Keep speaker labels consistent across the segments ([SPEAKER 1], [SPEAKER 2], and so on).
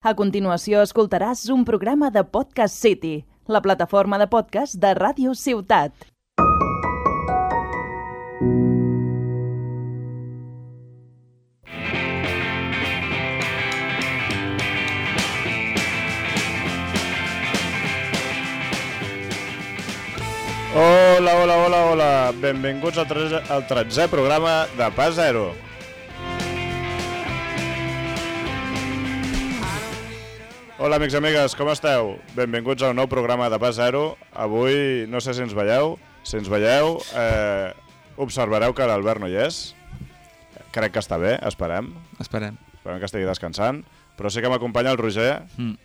[SPEAKER 1] A continuació escoltaràs un programa de Podcast City, la plataforma de podcast de Ràdio Ciutat.
[SPEAKER 2] Hola, hola, hola, hola. Benvinguts al, tres, al 13è programa de Pas Zero. Hola, amics i amigues, com esteu? Benvinguts a un nou programa de Pas Zero. Avui, no sé si ens veieu, si ens veieu, eh, observareu que l'Albert no hi és. Crec que està bé, esperem.
[SPEAKER 3] Esperem.
[SPEAKER 2] Esperem que estigui descansant. Però sí que m'acompanya el Roger,
[SPEAKER 3] Mm.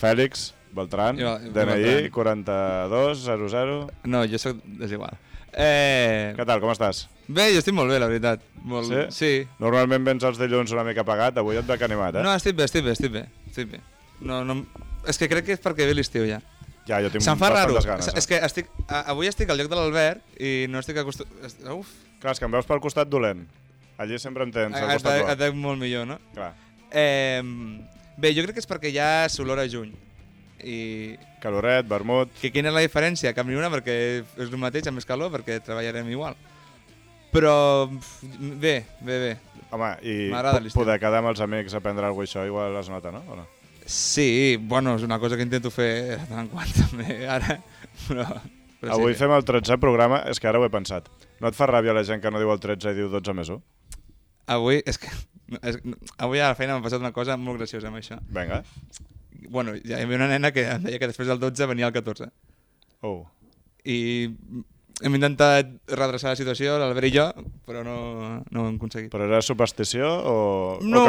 [SPEAKER 2] Fèlix, Beltran,
[SPEAKER 3] Jo-
[SPEAKER 2] DNI,
[SPEAKER 3] Beltran.
[SPEAKER 2] 4200.
[SPEAKER 3] No, jo sóc desigual. Eh...
[SPEAKER 2] Què tal, com estàs?
[SPEAKER 3] Bé, jo estic molt bé, la veritat. Molt... Sí.
[SPEAKER 2] Normalment vens els dilluns una mica pagat, avui et veig animat, eh?
[SPEAKER 3] No, estic bé, estic bé, estic bé. Estic bé. No, no... És que crec que és perquè ve l'estiu ja.
[SPEAKER 2] ja, jo tinc
[SPEAKER 3] Se'm fa raro.
[SPEAKER 2] bastantes ganes. eh?
[SPEAKER 3] És- és que estic, a, avui estic al lloc de l'Albert i no estic acostumat... Uf,
[SPEAKER 2] eh? Clar, és que em veus pel costat dolent. Allí sempre em tens, al
[SPEAKER 3] et,
[SPEAKER 2] costat
[SPEAKER 3] veig- et
[SPEAKER 2] bo.
[SPEAKER 3] veig molt millor, no?
[SPEAKER 2] Clar,
[SPEAKER 3] Eh, bé, jo crec que és perquè ja s'olora a juny. I
[SPEAKER 2] caloret, vermut...
[SPEAKER 3] que quina és la diferència? Cap ni una, perquè és el mateix, amb més calor, perquè treballarem igual. Però pf, bé, bé, bé.
[SPEAKER 2] Home, i
[SPEAKER 3] M'agrada
[SPEAKER 2] po-
[SPEAKER 3] l'estiu.
[SPEAKER 2] poder quedar amb els amics a prendre alguna cosa, això igual es nota, no? O no?
[SPEAKER 3] Sí, bueno, és una cosa que intento fer de tant en quant també, ara, però... però
[SPEAKER 2] avui
[SPEAKER 3] sí,
[SPEAKER 2] fem el 13è programa, és que ara ho he pensat. No et fa ràbia la gent que no diu el 13 i diu 12 més 1?
[SPEAKER 3] Avui, és que... no, És, no, avui a la feina m'ha passat una cosa molt graciosa amb això.
[SPEAKER 2] Vinga.
[SPEAKER 3] Bueno, ja hi havia una nena que em deia que després del 12 venia el 14.
[SPEAKER 2] Oh.
[SPEAKER 3] I hem intentat redreçar la situació, l'Albert i jo, però no, no ho hem aconseguit.
[SPEAKER 2] Però era superstició o,
[SPEAKER 3] No,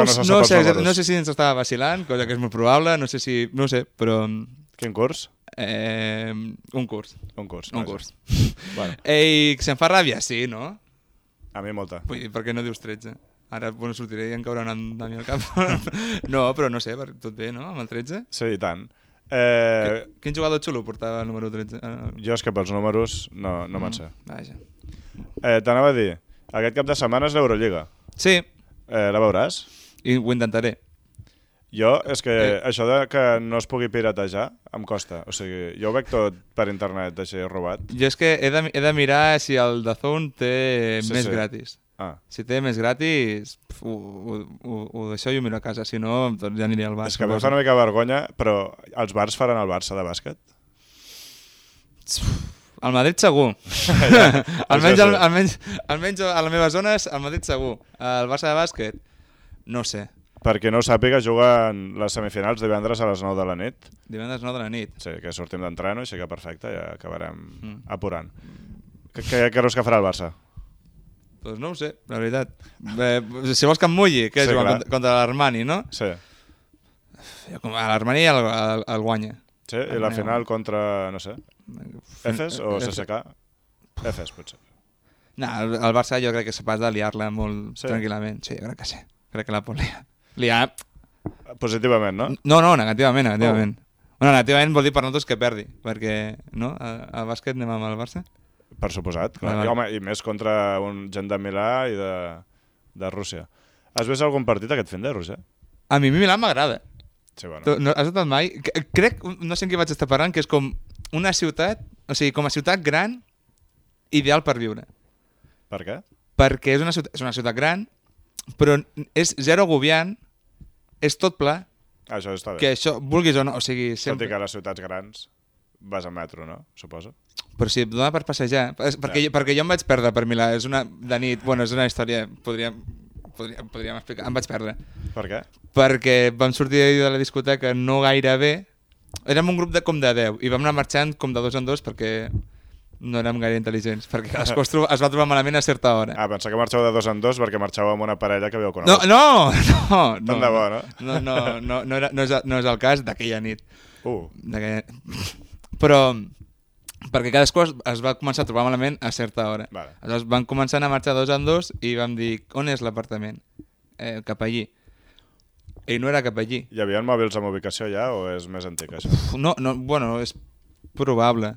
[SPEAKER 2] o que
[SPEAKER 3] no,
[SPEAKER 2] no se
[SPEAKER 3] no,
[SPEAKER 2] sap
[SPEAKER 3] sé,
[SPEAKER 2] els números?
[SPEAKER 3] no sé si ens estava vacilant, cosa que és molt probable, no sé si... No ho sé, però...
[SPEAKER 2] Quin curs?
[SPEAKER 3] Eh, un curs.
[SPEAKER 2] Un curs.
[SPEAKER 3] Un
[SPEAKER 2] vaja.
[SPEAKER 3] curs.
[SPEAKER 2] Bueno,
[SPEAKER 3] Ei, se'n fa ràbia? Sí, no?
[SPEAKER 2] a mi molta.
[SPEAKER 3] Vull dir, per què no dius 13? Ara bueno, sortiré i em caurà una de mi al cap. no, però no sé, per- tot bé, no? Amb el 13?
[SPEAKER 2] Sí, i tant. Eh,
[SPEAKER 3] Qui- Quin jugador xulo portava el número 13? Ah,
[SPEAKER 2] Jo és que pels números no, no
[SPEAKER 3] Mm.
[SPEAKER 2] me'n sé.
[SPEAKER 3] Vaja.
[SPEAKER 2] Eh, T'anava a dir, aquest cap de setmana és l'Eurolliga.
[SPEAKER 3] Sí,
[SPEAKER 2] Eh, la veuràs?
[SPEAKER 3] i ho intentaré.
[SPEAKER 2] Jo, és que eh.
[SPEAKER 3] Eh.
[SPEAKER 2] això de que no es pugui piratejar, em costa. O sigui, jo ho veig tot per internet, així robat.
[SPEAKER 3] Jo és que he de, he de mirar si el Dazón té
[SPEAKER 2] Sí,
[SPEAKER 3] sí,
[SPEAKER 2] sí.
[SPEAKER 3] més sí. gratis.
[SPEAKER 2] Ah,
[SPEAKER 3] Si té més gratis, pf, ho, ho, ho, ho deixo i ho miro a casa. Si no, doncs ja aniré al bar.
[SPEAKER 2] és que em fa una mica vergonya, però els bars faran el Barça de bàsquet?
[SPEAKER 3] Al Madrid segur. almenys,
[SPEAKER 2] això sí.
[SPEAKER 3] al, almenys, almenys a la meva zona és al Madrid segur. Al Barça de bàsquet, no ho sé.
[SPEAKER 2] Perquè no ho sàpiga, juguen les semifinals divendres a les 9 de la nit.
[SPEAKER 3] Divendres 9 de la nit.
[SPEAKER 2] Sí, que sortim d'entreno, així que perfecte, ja acabarem
[SPEAKER 3] Mm.
[SPEAKER 2] apurant. Què- Què creus que farà el Barça?
[SPEAKER 3] Doncs no ho sé, la veritat. Bé, si vols que em mulli, que
[SPEAKER 2] Sí,
[SPEAKER 3] sí, juguen
[SPEAKER 2] clar.
[SPEAKER 3] contra, contra l'Armani, no?
[SPEAKER 2] Sí.
[SPEAKER 3] Jo com a L'Armani el, el, el guanya.
[SPEAKER 2] Sí, i la
[SPEAKER 3] Anem.
[SPEAKER 2] final contra, no sé, Efes o CSK? Efes, potser.
[SPEAKER 3] No, el, el Barça jo crec que és capaç de liar-la molt
[SPEAKER 2] Sí?
[SPEAKER 3] sí. tranquil·lament. Sí, jo crec que sí. Crec que la pot liar. Liar...
[SPEAKER 2] Positivament, no?
[SPEAKER 3] No, no, negativament, negativament. Oh. Bueno, negativament vol dir per nosaltres que perdi, perquè, no? A, a bàsquet anem amb el Barça?
[SPEAKER 2] Per suposat. Clar.
[SPEAKER 3] Clar.
[SPEAKER 2] I, home, I més contra un gent de Milà i de, de Rússia. Has vist algun partit aquest fin de Roger?
[SPEAKER 3] A mi Milà m'agrada.
[SPEAKER 2] Sí, bueno.
[SPEAKER 3] Tu- No, has estat mai? C- Crec, no sé en què vaig estar parlant, que és com una ciutat, o sigui, com a ciutat gran, ideal per viure.
[SPEAKER 2] Per què?
[SPEAKER 3] Perquè és una ciutat, és una ciutat gran, però n- és zero agobiant, és tot pla,
[SPEAKER 2] Això està bé.
[SPEAKER 3] que això, vulguis o no, o sigui,
[SPEAKER 2] Tot i
[SPEAKER 3] sempre...
[SPEAKER 2] que a les ciutats grans vas a metro, no? Suposo.
[SPEAKER 3] Però si et dona per passejar... És perquè, jo, perquè jo em vaig perdre per Milà, és una... De nit, bueno, és una història, podríem, podríem, podríem explicar, em vaig perdre.
[SPEAKER 2] Per què?
[SPEAKER 3] perquè vam sortir de la discoteca no gaire bé. Érem un grup de com de 10 i vam anar marxant com de dos en dos perquè no érem gaire intel·ligents, perquè cadascú es, tro- es va trobar malament a certa hora.
[SPEAKER 2] Ah, pensava que marxeu de dos en dos perquè marxeu amb una parella que viu a
[SPEAKER 3] No,
[SPEAKER 2] Conegut.
[SPEAKER 3] no, no, no.
[SPEAKER 2] Tant de bo, no?
[SPEAKER 3] No, no, no, no, era, no, és, no és el cas d'aquella nit.
[SPEAKER 2] Uh,
[SPEAKER 3] D'aquella... Però perquè cadascú es, es va començar a trobar malament a certa hora.
[SPEAKER 2] Vale.
[SPEAKER 3] Aleshores van començar a marxar dos en dos i vam dir, on és l'apartament? Eh, cap allí. I no era cap allí.
[SPEAKER 2] hi havia mòbils amb ubicació ja o és més antic això?
[SPEAKER 3] Uf, No, no, bueno, és probable.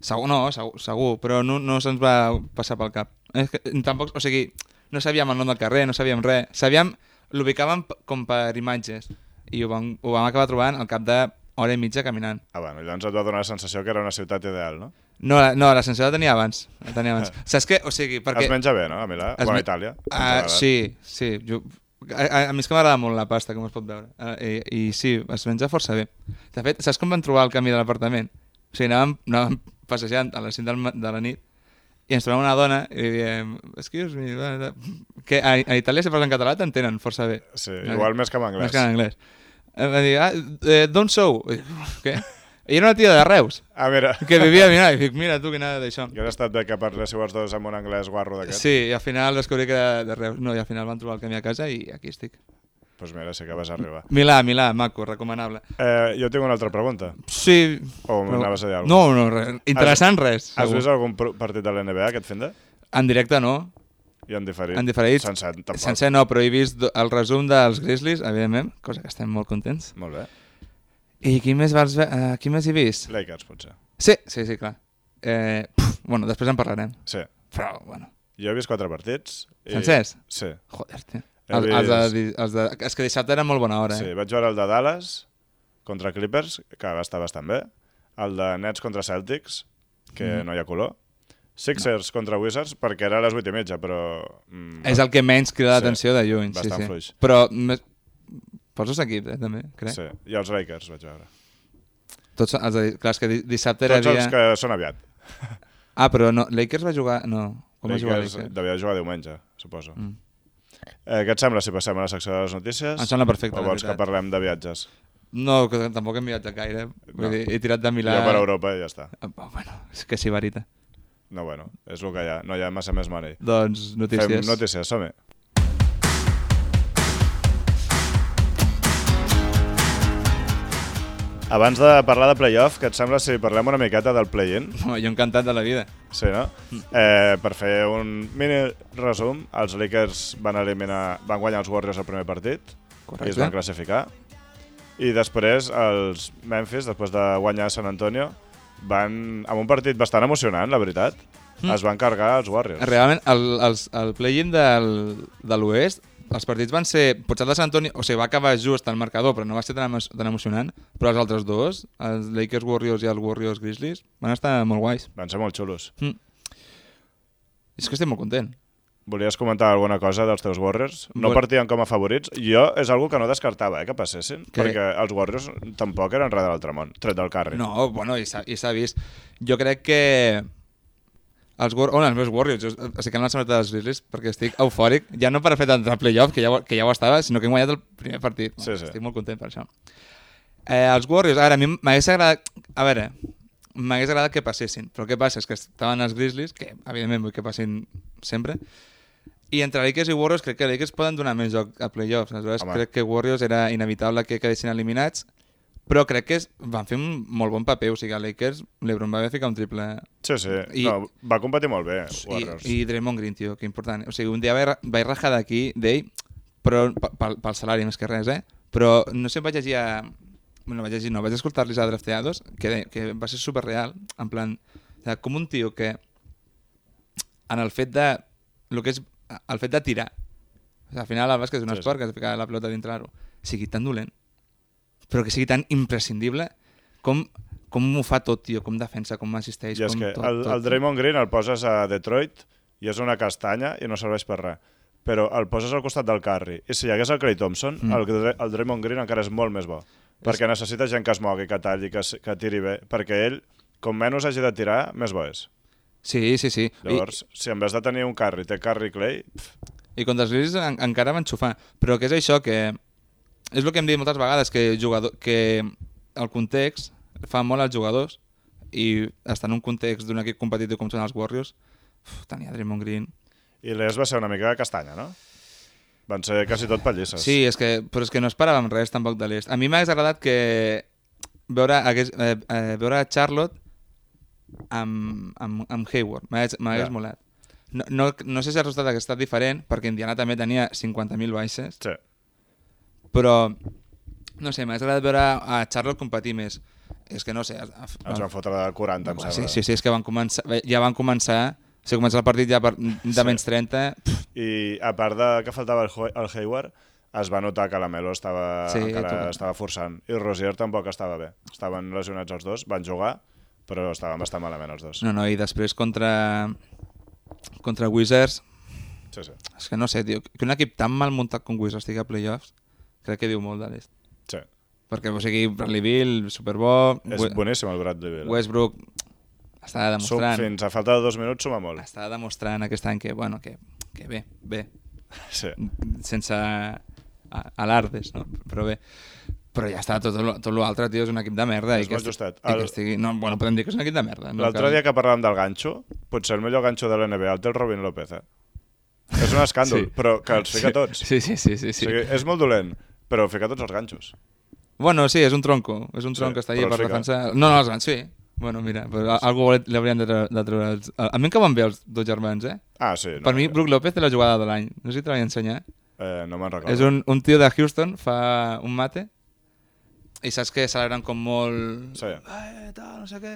[SPEAKER 3] Segur, no, segur, segur però no, no se'ns va passar pel cap. És que, tampoc, o sigui, no sabíem el nom del carrer, no sabíem res. Sabíem, l'ubicàvem p- com per imatges. i ho vam, ho vam acabar trobant al cap de hora i mitja caminant.
[SPEAKER 2] Ah, bueno, llavors et va donar la sensació que era una ciutat ideal, no?
[SPEAKER 3] No, la- no l'ascensor la tenia abans. La tenia abans. Saps què? O sigui,
[SPEAKER 2] Perquè...
[SPEAKER 3] perquè...
[SPEAKER 2] Es menja bé, no? A Milà,
[SPEAKER 3] Es
[SPEAKER 2] o a
[SPEAKER 3] me-
[SPEAKER 2] Itàlia.
[SPEAKER 3] Ah,
[SPEAKER 2] Ens agrada.
[SPEAKER 3] sí, sí. Jo, a, a, a mi és que m'agrada molt la pasta, com es pot veure. Ah, I, I sí, es menja força bé. De fet, saps com vam trobar el camí de l'apartament? O sigui, anàvem, anàvem passejant a les 5 del, ma- de la nit i ens trobem una dona i li diem excuse me, bla, bla, bla". que a, a Itàlia si parles en català t'entenen força bé.
[SPEAKER 2] Sí, igual més que en anglès.
[SPEAKER 3] Més que en anglès. Em va dir, ah, eh, d'on sou? I dic, Què? I era una tia de Reus,
[SPEAKER 2] Ah, mira.
[SPEAKER 3] que vivia a Milà, i dic, mira tu, que nada d'això.
[SPEAKER 2] Jo he estat bé que parléssiu els dos amb un anglès guarro d'aquest.
[SPEAKER 3] Sí, i al final descobrí que era de Reus. No, i al final van trobar el camí a casa i aquí estic.
[SPEAKER 2] Doncs pues mira, sí que vas arribar.
[SPEAKER 3] Milà, Milà, maco, recomanable.
[SPEAKER 2] Eh, jo tinc una altra pregunta.
[SPEAKER 3] Sí...
[SPEAKER 2] O anaves a dir alguna
[SPEAKER 3] No, no, res. interessant res.
[SPEAKER 2] Has
[SPEAKER 3] segur.
[SPEAKER 2] vist algun pro- partit de l'NBA aquest fin de?
[SPEAKER 3] En directe no,
[SPEAKER 2] I en diferit?
[SPEAKER 3] en diferit.
[SPEAKER 2] Sencer, tampoc.
[SPEAKER 3] Sencer no, però he vist do- el resum dels Grizzlies, evidentment, cosa que estem molt contents.
[SPEAKER 2] Molt bé.
[SPEAKER 3] I qui més, vas, ve- eh, qui més he vist?
[SPEAKER 2] Lakers, potser.
[SPEAKER 3] Sí, sí, sí, clar. Eh, puf, bueno, després en parlarem.
[SPEAKER 2] Sí.
[SPEAKER 3] Però, bueno,
[SPEAKER 2] Jo he vist quatre partits.
[SPEAKER 3] Sencers?
[SPEAKER 2] Sí.
[SPEAKER 3] joder, tio.
[SPEAKER 2] He
[SPEAKER 3] Els, els,
[SPEAKER 2] vist-
[SPEAKER 3] de, di- els de, és que dissabte era molt bona hora,
[SPEAKER 2] Sí,
[SPEAKER 3] eh?
[SPEAKER 2] vaig veure el de Dallas contra Clippers, que va estar bastant bé. El de Nets contra Celtics, que
[SPEAKER 3] Mhm.
[SPEAKER 2] mm. no hi ha color. Sixers no. contra Wizards, perquè era a les 8 i mitja, però... Mm,
[SPEAKER 3] És el que menys
[SPEAKER 2] Sí,
[SPEAKER 3] crida l'atenció de lluny, sí,
[SPEAKER 2] bastant
[SPEAKER 3] sí.
[SPEAKER 2] fluix.
[SPEAKER 3] Però més... poses equips, eh, també, crec.
[SPEAKER 2] Sí, i els Lakers vaig veure.
[SPEAKER 3] Tots, els de, eh? clar, és que di- dissabte era
[SPEAKER 2] Tots
[SPEAKER 3] dia...
[SPEAKER 2] els que són aviat.
[SPEAKER 3] Ah, però no, Lakers va jugar... No, com va jugar Lakers?
[SPEAKER 2] Devia jugar diumenge, suposo.
[SPEAKER 3] Mm.
[SPEAKER 2] Eh, què et sembla si passem a la secció de les notícies?
[SPEAKER 3] Em sembla perfecte,
[SPEAKER 2] O
[SPEAKER 3] la
[SPEAKER 2] vols que
[SPEAKER 3] veritat.
[SPEAKER 2] parlem de viatges?
[SPEAKER 3] No, que tampoc hem viatjat gaire. Vull
[SPEAKER 2] No.
[SPEAKER 3] dir, he tirat de Milà...
[SPEAKER 2] Jo per Europa i ja està.
[SPEAKER 3] Ah, Bueno, és que sí, varita.
[SPEAKER 2] No, bueno, és el que hi ha. No hi ha massa més money.
[SPEAKER 3] Doncs notícies.
[SPEAKER 2] Fem notícies, som-hi. Abans de parlar de playoff, que et sembla si parlem una miqueta del play-in?
[SPEAKER 3] Home, jo encantat de la vida.
[SPEAKER 2] Sí, no?
[SPEAKER 3] Mm.
[SPEAKER 2] Eh, per fer un mini resum, els Lakers van eliminar, van guanyar els Warriors el primer partit i es van
[SPEAKER 3] Correcte.
[SPEAKER 2] classificar. I després els Memphis, després de guanyar San Antonio, van, amb un partit bastant emocionant, la veritat,
[SPEAKER 3] Mm.
[SPEAKER 2] es van cargar els Warriors.
[SPEAKER 3] Realment, el, el, el play-in del, de l'Oest, els partits van ser... Potser el de Sant Antoni, o sigui, va acabar just al marcador, però no va ser tan, emo tan emocionant. Però els altres dos, els Lakers Warriors i els Warriors Grizzlies, van estar molt guais. Hm.
[SPEAKER 2] Van ser molt xulos.
[SPEAKER 3] És que estic molt content.
[SPEAKER 2] Volies comentar alguna cosa dels teus Warriors? No
[SPEAKER 3] Bueno.
[SPEAKER 2] partien com a favorits. Jo és algo que no descartava, eh, que passessin,
[SPEAKER 3] Que-
[SPEAKER 2] perquè els Warriors tampoc eren res de l'altre món, tret del carrer.
[SPEAKER 3] No, bueno, i s'ha i s'ha vist. Jo crec que els, War- bueno, els meus Warriors, jo, o sigui que han lançat dels Grizzlies perquè estic eufòric, ja no per fer tant de playoff, que ja, ho- que ja ho estava, sinó que hem guanyat el primer partit.
[SPEAKER 2] Sí, sí.
[SPEAKER 3] Estic molt content per això. Eh, els Warriors, ara, a mi m'hagués agradat... A veure, m'hagués agradat que passessin, però què passa? És que estaven els Grizzlies, que evidentment vull que passin sempre, i entre Lakers i Warriors crec que Lakers poden donar més joc a playoffs. Aleshores,
[SPEAKER 2] Home.
[SPEAKER 3] Home. crec que Warriors era inevitable que quedessin eliminats, però crec que es- van fer un molt bon paper. O sigui, a Lakers, l'Ebron va haver ficar un triple...
[SPEAKER 2] Sí, sí.
[SPEAKER 3] I-
[SPEAKER 2] No, va competir molt bé,
[SPEAKER 3] I,
[SPEAKER 2] Warriors.
[SPEAKER 3] I Draymond Green, tio, que important. O sigui, un dia vaig, ra- vaig rajar d'aquí, d'ell, però pe- pel, pel salari més que res, eh? Però no sé, vaig llegir a... Bueno, vaig llegir, no, vaig escoltar-los a Drafteados, que, de, que va ser superreal, en plan, de, com un tio que en el fet de... Lo que és, el fet de tirar. O sigui, al final el bàsquet és un
[SPEAKER 2] Sí, sí.
[SPEAKER 3] esport que has de ficar la pelota dintre l'aro. Sigui tan dolent, però que sigui tan imprescindible com, com ho fa tot, tio, com defensa, com assisteix,
[SPEAKER 2] I és
[SPEAKER 3] com
[SPEAKER 2] que
[SPEAKER 3] tot,
[SPEAKER 2] el,
[SPEAKER 3] tot.
[SPEAKER 2] el Draymond Green el poses a Detroit i és una castanya i no serveix per res. Però el poses al costat del Curry. I si hi hagués el Clay Thompson, mm.
[SPEAKER 3] Mm.
[SPEAKER 2] el, Dra- el Draymond Green encara és molt més bo. Perquè necessita gent que es mogui, que talli, que, s- que tiri bé. Perquè ell, com menys hagi de tirar, més bo és.
[SPEAKER 3] Sí, sí, sí.
[SPEAKER 2] Llavors, I... si en vez de tenir un Curry, té Curry Clay, pf,
[SPEAKER 3] I, i contra els Grizzlies en, encara van xufar. Però que és això que... És el que hem dit moltes vegades, que, jugador, que el context fa molt als jugadors i estar en un context d'un equip competitiu com són els Warriors, uf, tenia Draymond Green...
[SPEAKER 2] i l'ES va ser una mica castanya, no? Van ser quasi tot pallisses.
[SPEAKER 3] Sí, és que, però és que no esperàvem res tampoc de l'est. A mi m'hagués agradat que veure, hagués, eh, eh, veure Charlotte amb, amb, amb Hayward. M'hagués
[SPEAKER 2] Ja.
[SPEAKER 3] yeah. molat. No, no, no sé si el resultat hagués estat diferent, perquè Indiana també tenia 50.000 baixes,
[SPEAKER 2] Sí.
[SPEAKER 3] però no sé, m'hagués agradat veure a Charlotte competir més. És que no sé... Ens
[SPEAKER 2] Ens van fotre de 40, em
[SPEAKER 3] Ah. sí,
[SPEAKER 2] sembla.
[SPEAKER 3] sí, sí, és que van començar, ja van començar... O sigui, començar el partit ja per, de
[SPEAKER 2] Sí.
[SPEAKER 3] menys 30... Pff,
[SPEAKER 2] I a part de que faltava el, Ho- el Hayward, es va notar que la Melo estava,
[SPEAKER 3] Sí,
[SPEAKER 2] sí, encara
[SPEAKER 3] tot-
[SPEAKER 2] estava forçant i Rosier tampoc estava bé. Estaven lesionats els dos, van jugar, però estaven bastant malament els dos.
[SPEAKER 3] No, no, i després contra, contra Wizards,
[SPEAKER 2] Sí, sí.
[SPEAKER 3] és que no sé, tio, que un equip tan mal muntat com Wizards estigui a playoffs, crec que diu molt de l'est.
[SPEAKER 2] sí.
[SPEAKER 3] Perquè, o sigui, Bradley Bill, superbo,
[SPEAKER 2] És
[SPEAKER 3] We-
[SPEAKER 2] boníssim el Bradley Beal.
[SPEAKER 3] Westbrook, està
[SPEAKER 2] Sum,
[SPEAKER 3] demostrant,
[SPEAKER 2] fins a falta de dos minuts suma molt.
[SPEAKER 3] està demostrant aquest any que, bueno, que, que bé, bé,
[SPEAKER 2] Sí.
[SPEAKER 3] sense a- alardes, no? Però bé. Però ja està, tot, lo- tot l'altre, tio, és un equip de merda.
[SPEAKER 2] És
[SPEAKER 3] i que
[SPEAKER 2] molt
[SPEAKER 3] esti-
[SPEAKER 2] justet.
[SPEAKER 3] I
[SPEAKER 2] El-
[SPEAKER 3] que estigui... No, bueno, podem dir que és un equip de merda. No
[SPEAKER 2] L'altre
[SPEAKER 3] cal-
[SPEAKER 2] dia que parlàvem del ganxo, potser el millor ganxo de l'NBA el té el Robin López. Eh? És un escàndol, però que els fica
[SPEAKER 3] sí,
[SPEAKER 2] a tots.
[SPEAKER 3] Sí, sí, sí. sí, sí.
[SPEAKER 2] O sigui, és molt dolent, però fica tots els ganxos.
[SPEAKER 3] Bueno, sí, és un tronco. És un
[SPEAKER 2] Sí,
[SPEAKER 3] tronco que està allà
[SPEAKER 2] però
[SPEAKER 3] per
[SPEAKER 2] els fica.
[SPEAKER 3] defensar... No, no, els grans, sí. Bueno, mira, però a- algú li li haurien de, tre de treure... Els... A a mi em que van bé els dos germans, eh?
[SPEAKER 2] Ah, sí. No,
[SPEAKER 3] per mi, Brook López té la jugada de l'any. No sé si te la vaig ensenyar.
[SPEAKER 2] Eh, no me'n recordo.
[SPEAKER 3] És un, un tio de Houston, fa un mate, i saps que celebren com molt...
[SPEAKER 2] Sí.
[SPEAKER 3] Eh, tal, no sé què...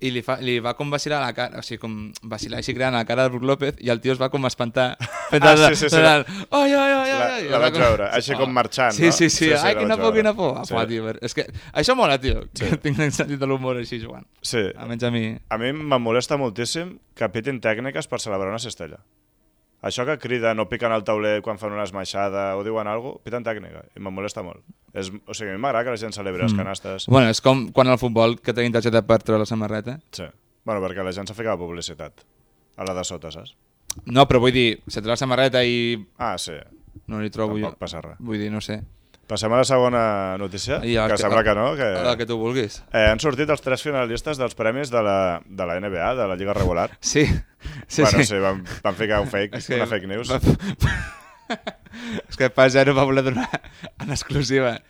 [SPEAKER 3] I li, fa, li va com vacilar a la cara, o sigui, com vacilar així creant a la cara de Brook López, i el tio es va com espantar. Fent
[SPEAKER 2] Ah,
[SPEAKER 3] el-
[SPEAKER 2] sí, sí, sí,
[SPEAKER 3] fent
[SPEAKER 2] la-
[SPEAKER 3] el, Ai, ai, ai,
[SPEAKER 2] la-
[SPEAKER 3] ai,
[SPEAKER 2] la vaig veure, així com marxant,
[SPEAKER 3] Ah. sí,
[SPEAKER 2] no? Sí,
[SPEAKER 3] Sí, sí,
[SPEAKER 2] sí,
[SPEAKER 3] sí. Ai,
[SPEAKER 2] la
[SPEAKER 3] quina
[SPEAKER 2] vaig
[SPEAKER 3] por,
[SPEAKER 2] veure.
[SPEAKER 3] quina por.
[SPEAKER 2] Sí.
[SPEAKER 3] Apa, tio, és que això mola, tio.
[SPEAKER 2] Sí.
[SPEAKER 3] Sí. Tinc el sentit de l'humor així, Joan.
[SPEAKER 2] Sí.
[SPEAKER 3] Almenys a mi...
[SPEAKER 2] A mi me molesta moltíssim que pitin tècniques per celebrar una cestella. Això que criden o piquen al tauler quan fan una esmaixada o diuen alguna cosa, piten tècnica. I me molesta molt. És, o sigui, a mi m'agrada que la gent celebri les canastes.
[SPEAKER 3] Mm. Bueno, és com quan al futbol que tenim targeta per treure la samarreta.
[SPEAKER 2] Sí. Bueno, perquè la gent s'ha ficat publicitat. A la de sota, saps?
[SPEAKER 3] No, però vull dir, se treu la samarreta i
[SPEAKER 2] Ah, sí.
[SPEAKER 3] no li trobo
[SPEAKER 2] Tampoc
[SPEAKER 3] jo.
[SPEAKER 2] passa res.
[SPEAKER 3] Vull dir, no sé.
[SPEAKER 2] Passem a la segona notícia,
[SPEAKER 3] I el
[SPEAKER 2] que sembla
[SPEAKER 3] el-
[SPEAKER 2] que no. Que...
[SPEAKER 3] El que tu vulguis.
[SPEAKER 2] Eh, han sortit els tres finalistes dels premis de la, de la NBA, de la Lliga Regular.
[SPEAKER 3] Sí, sí,
[SPEAKER 2] bueno,
[SPEAKER 3] sí.
[SPEAKER 2] sí, van, van ficar un fake,
[SPEAKER 3] És que-
[SPEAKER 2] una fake news.
[SPEAKER 3] És que Pas Zero va voler donar en exclusiva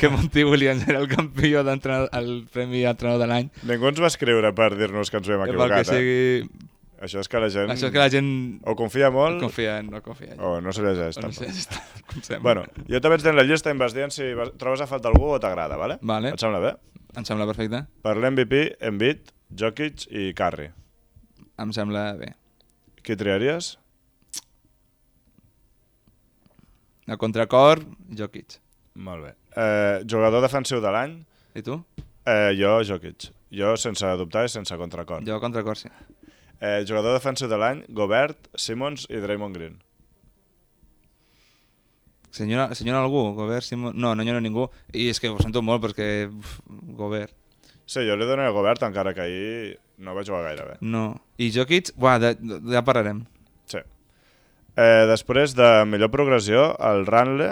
[SPEAKER 3] que Monty Williams era el campió d'entrenador, el premi entrenador de l'any.
[SPEAKER 2] Ningú ens va escriure per dir-nos que ens ho hem
[SPEAKER 3] Pel que
[SPEAKER 2] equivocat. Eh?
[SPEAKER 3] sigui...
[SPEAKER 2] Això és que la gent
[SPEAKER 3] Això és que la gent
[SPEAKER 2] o confia molt
[SPEAKER 3] confia, no confia.
[SPEAKER 2] o no se llegeix.
[SPEAKER 3] O no
[SPEAKER 2] tampoc.
[SPEAKER 3] sé, està- com sembla.
[SPEAKER 2] Bueno, jo també vaig tenir la llista i em vas dient si vas- trobes a falta algú o t'agrada, vale?
[SPEAKER 3] Vale.
[SPEAKER 2] Et sembla bé?
[SPEAKER 3] Em sembla perfecte.
[SPEAKER 2] Per l'MVP, Embiid, Jokic i Curry.
[SPEAKER 3] Em sembla bé.
[SPEAKER 2] Qui triaries?
[SPEAKER 3] A contracor, Jokic.
[SPEAKER 2] Molt bé. Eh, jugador defensiu de l'any?
[SPEAKER 3] I tu?
[SPEAKER 2] Eh, jo, Jokic. Jo sense dubtar i sense contracor.
[SPEAKER 3] Jo a contracor, sí.
[SPEAKER 2] Eh, jugador defensiu de l'any, Gobert, Simmons i Draymond Green.
[SPEAKER 3] Senyora, senyora algú, Gobert, Simon... No, no senyora ningú. I és que ho sento molt perquè... Uf, Gobert.
[SPEAKER 2] Sí, jo li donaré a Gobert, encara que ahir no va jugar gaire bé.
[SPEAKER 3] No. I Jokic, buah, de, de, ja parlarem.
[SPEAKER 2] Sí. Eh, després de millor progressió, el Ranle,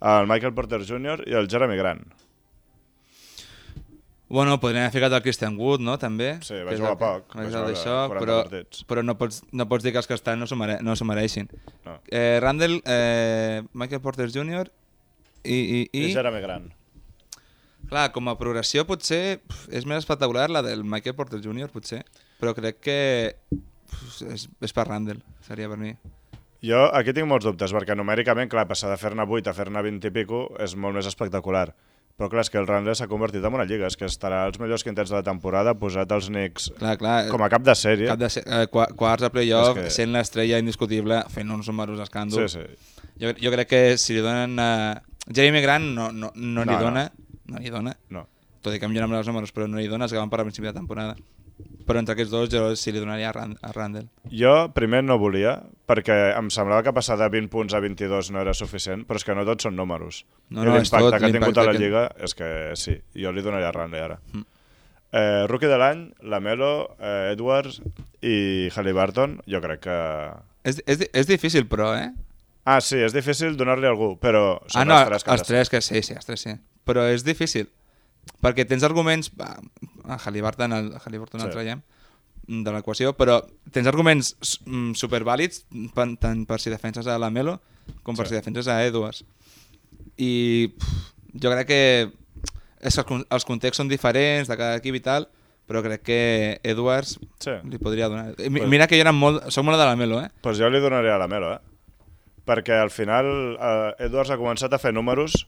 [SPEAKER 2] el Michael Porter Jr. i el Jeremy Grant.
[SPEAKER 3] Bueno, podríem haver ficat el Christian Wood, no, també?
[SPEAKER 2] Sí, va
[SPEAKER 3] Que és
[SPEAKER 2] jugar
[SPEAKER 3] el-
[SPEAKER 2] poc,
[SPEAKER 3] Va
[SPEAKER 2] va
[SPEAKER 3] jugar
[SPEAKER 2] jugar
[SPEAKER 3] d'això,
[SPEAKER 2] 40
[SPEAKER 3] però,
[SPEAKER 2] partits.
[SPEAKER 3] però no, pots, no pots dir que els que estan no s'ho mere no s'ho mereixin.
[SPEAKER 2] No.
[SPEAKER 3] Eh, Randall, eh, Michael Porter Jr. i... i, i,
[SPEAKER 2] I Jeremy Grant.
[SPEAKER 3] Clar, com a progressió potser pf, és més espectacular la del Michael Porter Jr., potser, però crec que pf, és, és per Randall, seria per mi.
[SPEAKER 2] Jo aquí tinc molts dubtes, perquè numèricament, clar, passar de fer-ne 8 a fer-ne 20 i pico és molt més espectacular. Però clar, és que el Ranle s'ha convertit en una lliga, és que estarà als millors quintets de la temporada, posat als Knicks
[SPEAKER 3] Clar, clar,
[SPEAKER 2] com a cap de sèrie.
[SPEAKER 3] cap de ser, eh, qua- quarts a playoff,
[SPEAKER 2] És que-
[SPEAKER 3] que... sent l'estrella indiscutible, fent uns números
[SPEAKER 2] Sí,
[SPEAKER 3] escàndols.
[SPEAKER 2] sí.
[SPEAKER 3] Jo, jo crec que si li donen a... Jeremy Grant no, no, no,
[SPEAKER 2] No,
[SPEAKER 3] li
[SPEAKER 2] no.
[SPEAKER 3] dona, no. li dona,
[SPEAKER 2] No.
[SPEAKER 3] tot i que millora amb els números, però no li dona, es que van per a principi de temporada. Però entre aquests dos jo sí li donaria a, Rand a Randall.
[SPEAKER 2] Jo primer no volia, perquè em semblava que passar de 20 punts a 22 no era suficient, però és que no tots són números.
[SPEAKER 3] No,
[SPEAKER 2] I
[SPEAKER 3] no, és
[SPEAKER 2] L'impacte
[SPEAKER 3] tot,
[SPEAKER 2] que ha tingut
[SPEAKER 3] l'impacte
[SPEAKER 2] a la
[SPEAKER 3] que- Mm.
[SPEAKER 2] Lliga és que sí, jo li donaria a Randy ara. Eh, rookie de l'any, Lamelo, eh, Edwards i Halliburton, jo crec que...
[SPEAKER 3] És, és, di- és difícil, però, eh?
[SPEAKER 2] Ah, sí, és difícil donar-li a algú, però són
[SPEAKER 3] Ah, no,
[SPEAKER 2] els tres que
[SPEAKER 3] els tres que sí, sí, els tres sí. Però és difícil, perquè tens arguments... va, A Halliburton, el, a Halliburton
[SPEAKER 2] Sí.
[SPEAKER 3] el traiem mm, de l'equació, però tens arguments s- mm, supervàlids per, tant per si defenses a la Melo com per
[SPEAKER 2] Sí.
[SPEAKER 3] si defenses a Edwards. I pff, jo crec que és que els con- els contextos són diferents de cada equip i tal, però crec que Edwards
[SPEAKER 2] Sí.
[SPEAKER 3] li podria donar. I mi-
[SPEAKER 2] Pues-
[SPEAKER 3] Mira que jo era molt, soc molt de la Melo, eh?
[SPEAKER 2] Pues jo li donaré a la Melo, eh? Perquè al final eh, Edwards ha començat a fer números,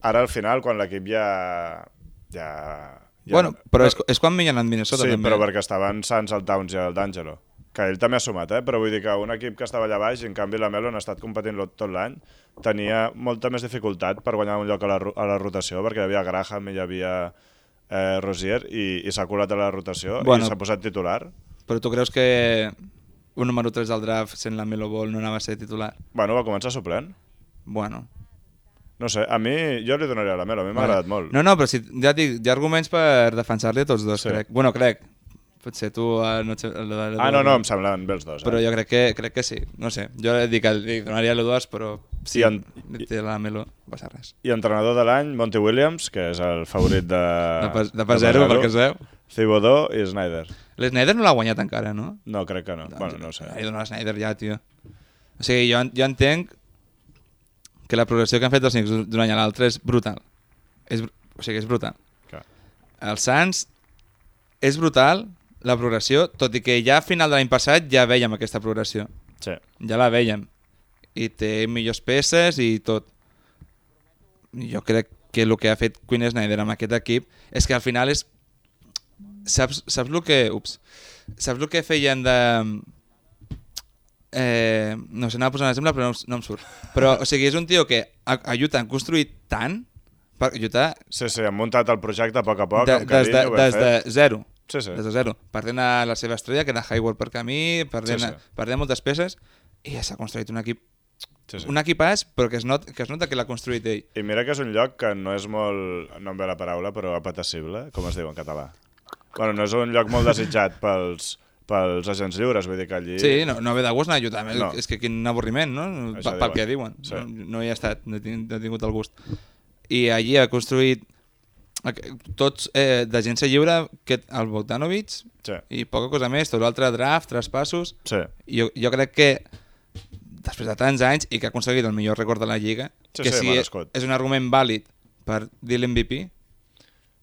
[SPEAKER 2] ara al final, quan l'equip ja... ja... ja
[SPEAKER 3] bueno, però és, és quan millen a Minnesota
[SPEAKER 2] sí,
[SPEAKER 3] també.
[SPEAKER 2] però perquè estaven Sans, el Towns i el D'Angelo. que ell també ha sumat, eh? però vull dir que un equip que estava allà baix, i en canvi la Melon ha estat competint lo- tot l'any, tenia molta més dificultat per guanyar un lloc a la, ro- a la rotació, perquè hi havia Graham i hi havia eh, Rosier, i, i s'ha colat a la rotació
[SPEAKER 3] Bueno.
[SPEAKER 2] i s'ha posat titular.
[SPEAKER 3] Però tu creus que un número 3 del draft sent la Melo Ball no anava a ser titular?
[SPEAKER 2] Bueno, va començar suplent.
[SPEAKER 3] Bueno.
[SPEAKER 2] No sé, a mi, jo li donaria a la Melo, a mi m'ha agradat molt.
[SPEAKER 3] No, no, però si, ja et dic, hi ha arguments per defensar-li a tots dos,
[SPEAKER 2] Sí.
[SPEAKER 3] sí. crec. Bueno, crec. Potser tu... eh, No, et sé- el de-
[SPEAKER 2] Ah, no, no, em semblaven bé els dos. Eh?
[SPEAKER 3] Però jo crec que, crec que sí. No sé, jo he dit que li donaria l'2, però sí,
[SPEAKER 2] I en-
[SPEAKER 3] té la Melo, no passa res.
[SPEAKER 2] I entrenador de l'any, Monty Williams, que és el favorit de...
[SPEAKER 3] De pas, de pas zero, perquè es veu.
[SPEAKER 2] Thibodeau i Snyder.
[SPEAKER 3] L'Snyder no l'ha guanyat encara, no?
[SPEAKER 2] No, crec que no.
[SPEAKER 3] Doncs,
[SPEAKER 2] bueno, no ho sé.
[SPEAKER 3] Li dona a Snyder ja, tio. O sigui, jo, jo entenc que la progressió que han fet els Knicks d'un any a l'altre és brutal. És, br- o sigui, és brutal.
[SPEAKER 2] Clar.
[SPEAKER 3] Els Sants és brutal la progressió, tot i que ja a final de l'any passat ja veiem aquesta progressió.
[SPEAKER 2] Sí.
[SPEAKER 3] Ja la veiem. I té millors peces i tot. Jo crec que el que ha fet Quinn Snyder amb aquest equip és que al final és... Saps, saps el que... Ups. Saps el que feien de... Eh, no sé, anava posant l'exemple, però no, em- no em surt. Però, o sigui, és un tio que a, a Utah han construït tant per Utah
[SPEAKER 2] Sí, sí, han muntat el projecte a poc a poc,
[SPEAKER 3] de,
[SPEAKER 2] amb
[SPEAKER 3] des,
[SPEAKER 2] carinyo,
[SPEAKER 3] de,
[SPEAKER 2] ho hem
[SPEAKER 3] des de
[SPEAKER 2] fet.
[SPEAKER 3] zero.
[SPEAKER 2] Sí, sí.
[SPEAKER 3] Des de zero. Perdent a la seva estrella, que era Hayward per camí, perdent,
[SPEAKER 2] Sí,
[SPEAKER 3] sí,
[SPEAKER 2] sí.
[SPEAKER 3] sí. perdent moltes peces, i ja s'ha construït un equip
[SPEAKER 2] Sí, sí.
[SPEAKER 3] un equipàs, però que es, not, que es nota que l'ha construït ell.
[SPEAKER 2] I mira que és un lloc que no és molt, no em ve la paraula, però apetecible, com es diu en català. Bueno, no és un lloc molt desitjat pels, pels agents lliures, vull dir que allí...
[SPEAKER 3] Sí, no, no haver de gust anar a Utah.
[SPEAKER 2] No.
[SPEAKER 3] No. És que quin avorriment, no?
[SPEAKER 2] Això
[SPEAKER 3] Pel, pel que
[SPEAKER 2] diuen.
[SPEAKER 3] diuen.
[SPEAKER 2] Sí.
[SPEAKER 3] Sí. No, no hi ha estat, no he, tingut, no he tingut el gust. I allí ha construït aqu- tots eh, d'agència lliure, que el Bogdanovic
[SPEAKER 2] Sí,
[SPEAKER 3] i poca cosa més, tot l'altre draft, traspassos.
[SPEAKER 2] sí,
[SPEAKER 3] I Jo, jo crec que després de tants anys i que ha aconseguit el millor rècord de la Lliga,
[SPEAKER 2] Sí,
[SPEAKER 3] que
[SPEAKER 2] sí, merescut.
[SPEAKER 3] és un argument vàlid per dir l'MVP,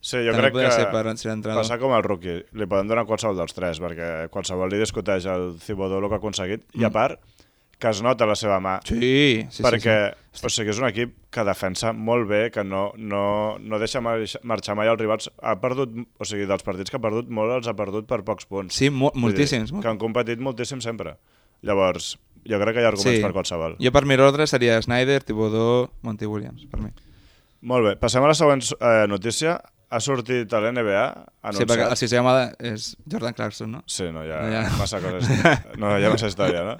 [SPEAKER 2] sí jo
[SPEAKER 3] També
[SPEAKER 2] crec
[SPEAKER 3] podria
[SPEAKER 2] que
[SPEAKER 3] ser per ser entrenador.
[SPEAKER 2] passa com el rookie, li poden donar qualsevol dels tres, perquè qualsevol li discuteix al Cibodó el que ha aconseguit, i a
[SPEAKER 3] Mm.
[SPEAKER 2] part, que es nota la seva mà,
[SPEAKER 3] sí, sí,
[SPEAKER 2] sí, perquè sí, sí. O sigui, és un equip que defensa molt bé, que no, no, no deixa mar- marxar mai els rivals. Ha perdut, o sigui, dels partits que ha perdut, molt els ha perdut per pocs punts.
[SPEAKER 3] Sí, mo
[SPEAKER 2] Vull dir,
[SPEAKER 3] moltíssims. molt-
[SPEAKER 2] Que han competit moltíssim sempre. Llavors, jo crec que hi ha arguments sí. per qualsevol.
[SPEAKER 3] Jo per mi l'ordre seria Snyder, Thibodeau, Monty Williams, per mi.
[SPEAKER 2] Molt bé, passem a la següent eh, notícia. Ha sortit a l'NBA
[SPEAKER 3] Sí, perquè el
[SPEAKER 2] anunciat...
[SPEAKER 3] sisè home és Jordan Clarkson, no?
[SPEAKER 2] Sí, no, hi ha
[SPEAKER 3] No, ja no.
[SPEAKER 2] massa coses. No, hi ha massa història, no?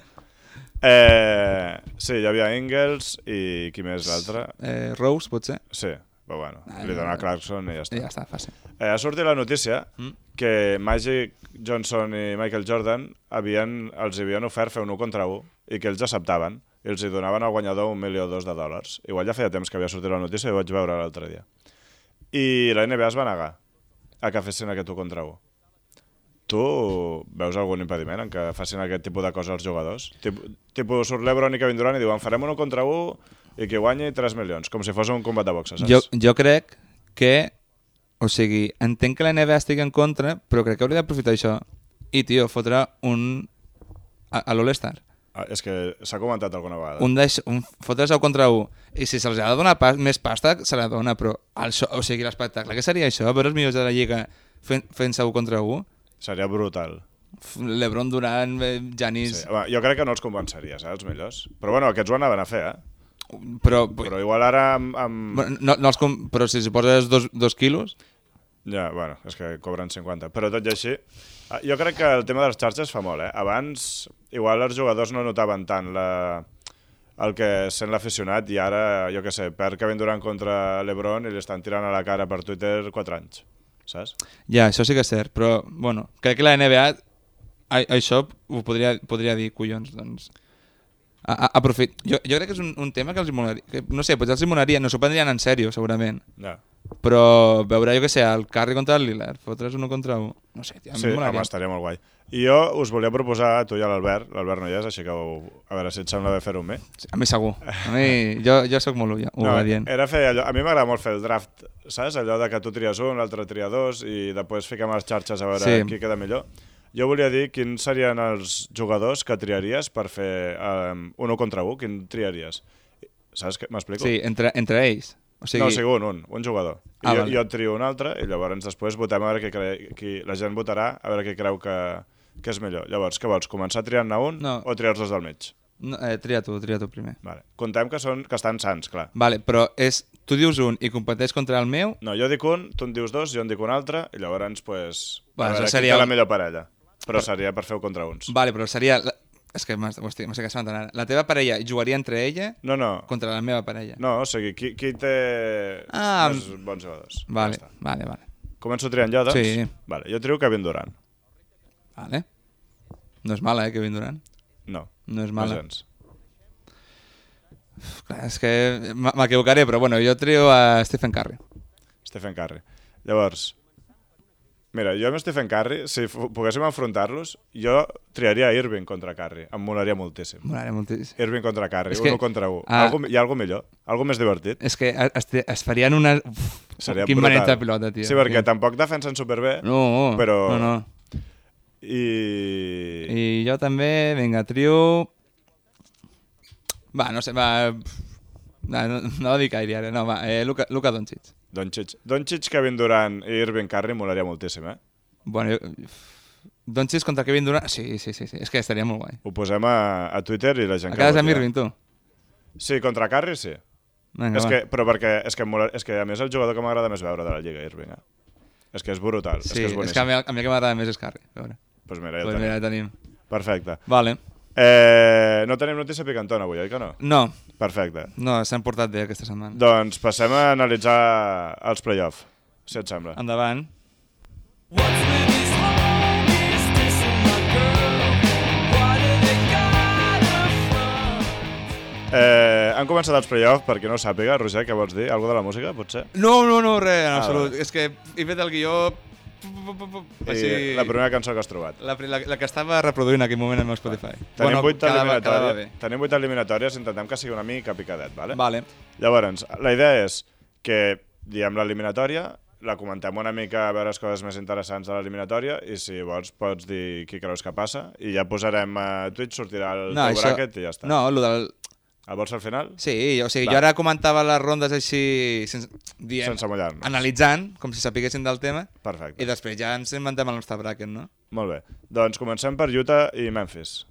[SPEAKER 2] Eh, sí, hi havia Ingles i qui més l'altre?
[SPEAKER 3] Eh, Rose, potser?
[SPEAKER 2] Sí, però bueno,
[SPEAKER 3] Ah,
[SPEAKER 2] li dona
[SPEAKER 3] no.
[SPEAKER 2] Clarkson i ja
[SPEAKER 3] I
[SPEAKER 2] està.
[SPEAKER 3] ja està, fàcil.
[SPEAKER 2] Eh, ha sortit la notícia
[SPEAKER 3] Mm.
[SPEAKER 2] que Magic Johnson i Michael Jordan havien, els havien ofert fer un 1 contra 1 i que ells acceptaven i els hi donaven al guanyador un milió o dos de dòlars. Igual ja feia temps que havia sortit la notícia i ho vaig veure l'altre dia. I la NBA es va negar a que fessin aquest 1 contra 1. Tu veus algun impediment en que facin aquest tipus de coses als jugadors? Tip, tipus surt l'Ebron i Kevin Durant i diuen farem un 1 contra 1 i qui guanyi 3 milions, com si fos un combat de boxa, saps?
[SPEAKER 3] Jo, jo crec que... O sigui, entenc que la NBA estigui en contra, però crec que hauria d'aprofitar això. I, tio, fotre un... A, a l'All-Star.
[SPEAKER 2] Ah, És que s'ha comentat alguna vegada.
[SPEAKER 3] Un, deix, un fotre's contra un. I si se'ls ha de donar pas, més pasta, se la dona, però... El, so- o sigui, l'espectacle, què seria això? Veure els millors de la Lliga fent- fent-se un contra un?
[SPEAKER 2] Seria brutal.
[SPEAKER 3] F- Lebron, Durant, eh,
[SPEAKER 2] Sí.
[SPEAKER 3] Giannis...
[SPEAKER 2] Home, jo crec que no els convenceria, eh, els millors. Però bueno, aquests ho anaven a fer, eh?
[SPEAKER 3] Però, però,
[SPEAKER 2] Però igual ara amb... amb... Bueno.
[SPEAKER 3] no, no els com... però si s'hi poses dos, dos quilos...
[SPEAKER 2] Ja, bueno, és que cobren 50. Però tot i així, eh, jo crec que el tema de les xarxes fa molt, eh? Abans, igual els jugadors no notaven tant la el que sent l'aficionat i ara, jo què sé, perd Kevin Durant contra l'Ebron i li estan tirant a la cara per Twitter 4 anys, saps?
[SPEAKER 3] Ja, això sí que és cert, però bueno, crec que la NBA a, això ho podria, podria dir, collons, doncs... A, a, aprofit. Jo, jo crec que és un, un tema que els hi molaria, que, no sé, potser els hi molaria, no s'ho prendrien en sèrio, segurament,
[SPEAKER 2] Ja.
[SPEAKER 3] però veure, jo que sé, el Curry contra el Lillard, fotre's un contra un, no sé, tio, a mi
[SPEAKER 2] Sí,
[SPEAKER 3] em
[SPEAKER 2] home,
[SPEAKER 3] molaria.
[SPEAKER 2] estaria molt guai. I jo us volia proposar, a tu i a l'Albert, l'Albert no hi és, així que ho, a veure si et sembla bé fer-ho amb mi.
[SPEAKER 3] Sí, a mi segur, a mi, jo, jo sóc molt obvi- obedient.
[SPEAKER 2] Era fer allò, a mi m'agrada molt fer el draft, saps? Allò de que tu tries un, l'altre tria dos i després fiquem les xarxes a veure sí.
[SPEAKER 3] Sí.
[SPEAKER 2] qui queda millor. Jo volia dir quins serien els jugadors que triaries per fer um, un 1 contra 1, quin triaries? Saps què m'explico?
[SPEAKER 3] Sí, entre, entre ells. O sigui,
[SPEAKER 2] eh, No, o sigui, un, un, un jugador. I
[SPEAKER 3] Ah,
[SPEAKER 2] jo,
[SPEAKER 3] vale.
[SPEAKER 2] jo trio un altre i llavors després votem a veure qui, cre... qui la gent votarà, a veure qui creu que, Què és millor? Llavors, què vols? Començar triant-ne un
[SPEAKER 3] No.
[SPEAKER 2] o triar els dos del mig?
[SPEAKER 3] No, eh, tria tu, tria tu primer.
[SPEAKER 2] Vale. Contem que, són, que estan sants, clar.
[SPEAKER 3] Vale, però és, tu dius un i competeix contra el meu,
[SPEAKER 2] No, jo dic un, tu en dius dos, jo en dic un altre, i llavors, pues,
[SPEAKER 3] Va,
[SPEAKER 2] a
[SPEAKER 3] això
[SPEAKER 2] veure,
[SPEAKER 3] seria-
[SPEAKER 2] seria... la millor parella. Però seria per fer-ho contra uns.
[SPEAKER 3] vale, però seria... La... És que m'has- hòstia, m'estic espantant ara. La teva parella jugaria entre ella
[SPEAKER 2] No, no,
[SPEAKER 3] contra la meva parella.
[SPEAKER 2] no, o sigui, qui, qui té
[SPEAKER 3] Ah,
[SPEAKER 2] més bons jugadors?
[SPEAKER 3] Vale,
[SPEAKER 2] Ja està.
[SPEAKER 3] vale, vale.
[SPEAKER 2] Començo triant jo, doncs?
[SPEAKER 3] Sí.
[SPEAKER 2] Vale, jo trio Kevin Durant.
[SPEAKER 3] Vale. No és mala, eh, Kevin Durant.
[SPEAKER 2] No,
[SPEAKER 3] No és
[SPEAKER 2] no
[SPEAKER 3] mala.
[SPEAKER 2] gens.
[SPEAKER 3] Uf, clar, és que m- m'equivocaré, però bueno, jo trio a Stephen Curry.
[SPEAKER 2] Stephen Curry. Llavors, mira, jo amb Stephen Curry, si fu- poguéssim enfrontar-los, jo triaria Irving contra Curry. Em molaria moltíssim.
[SPEAKER 3] M'agradaria moltíssim.
[SPEAKER 2] Irving contra Curry,
[SPEAKER 3] És
[SPEAKER 2] un
[SPEAKER 3] que-
[SPEAKER 2] que... contra un. Ah.
[SPEAKER 3] ah.
[SPEAKER 2] Algo, hi ha alguna millor? Algo més divertit?
[SPEAKER 3] És que es, es- es farien una... Uf,
[SPEAKER 2] Seria
[SPEAKER 3] quin
[SPEAKER 2] brutal.
[SPEAKER 3] maneig de pilota, tio.
[SPEAKER 2] Sí, perquè
[SPEAKER 3] Quin-
[SPEAKER 2] tampoc defensen superbé no.
[SPEAKER 3] No,
[SPEAKER 2] però-
[SPEAKER 3] no, no.
[SPEAKER 2] i...
[SPEAKER 3] I jo també, vinga, trio... Va, no sé, va... No, no, no dic Kyrie ara, no, va, eh, Luka, Luka Doncic.
[SPEAKER 2] Doncic. Doncic, Kevin Durant i Irving Curry molaria moltíssim, eh?
[SPEAKER 3] Bueno, jo... Doncic contra Kevin Durant... Sí, sí, sí, sí. és que estaria molt guai.
[SPEAKER 2] Ho posem a, a Twitter i la gent
[SPEAKER 3] A
[SPEAKER 2] que
[SPEAKER 3] casa amb
[SPEAKER 2] votarà.
[SPEAKER 3] Irving, tu?
[SPEAKER 2] Sí, contra Curry, sí.
[SPEAKER 3] Vinga,
[SPEAKER 2] És
[SPEAKER 3] va.
[SPEAKER 2] que, però perquè, és que, em mola, és que a mi és el jugador que m'agrada més veure de la Lliga, Irving. Eh? És que és brutal,
[SPEAKER 3] Sí,
[SPEAKER 2] és que és
[SPEAKER 3] és que
[SPEAKER 2] boníssim.
[SPEAKER 3] a mi, a mi el que m'agrada més és Curry. a Veure.
[SPEAKER 2] Doncs pues mira, ja
[SPEAKER 3] Pues
[SPEAKER 2] tenim.
[SPEAKER 3] mira, ja tenim.
[SPEAKER 2] Perfecte.
[SPEAKER 3] Vale.
[SPEAKER 2] Eh, no tenim notícia picantona avui, oi que no?
[SPEAKER 3] No,
[SPEAKER 2] Perfecte.
[SPEAKER 3] no, s'han portat bé aquesta setmana.
[SPEAKER 2] Doncs passem a analitzar els play-off, si et sembla.
[SPEAKER 3] Endavant.
[SPEAKER 4] What's with this home? Is this my girl? Why do they gotta front?
[SPEAKER 2] Eh, han començat els play-off, perquè no ho sàpiga, Roger, què vols dir? Algú de la música, potser?
[SPEAKER 3] No, no, no, res, en
[SPEAKER 2] Ah,
[SPEAKER 3] absolut.
[SPEAKER 2] vale.
[SPEAKER 3] És que he fet el guió... pu- pu- pu- pu-
[SPEAKER 2] I
[SPEAKER 3] Així...
[SPEAKER 2] la primera cançó que has trobat.
[SPEAKER 3] La, pri- la, la que estava reproduint en aquell moment en el meu Spotify.
[SPEAKER 2] Tenim,
[SPEAKER 3] bueno,
[SPEAKER 2] vuit
[SPEAKER 3] quedava, quedava bé.
[SPEAKER 2] eliminatòries, tenim vuit eliminatòries, intentem que sigui una mica picadet, vale?
[SPEAKER 3] Vale.
[SPEAKER 2] Llavors, la idea és que diem l'eliminatòria, la comentem una mica a veure les coses més interessants de l'eliminatòria i si vols pots dir qui creus que passa i ja posarem a Twitch, sortirà el no, teu bracket i ja està.
[SPEAKER 3] No, lo del...
[SPEAKER 2] El vols al final?
[SPEAKER 3] Sí, o sigui,
[SPEAKER 2] Va.
[SPEAKER 3] jo ara comentava les rondes així, sense, diem,
[SPEAKER 2] Sense mullar-nos.
[SPEAKER 3] analitzant, com si sapiguessin del tema,
[SPEAKER 2] Perfecte.
[SPEAKER 3] i després ja ens inventem el nostre bracket, no?
[SPEAKER 2] Molt bé. Doncs comencem per Utah i Memphis.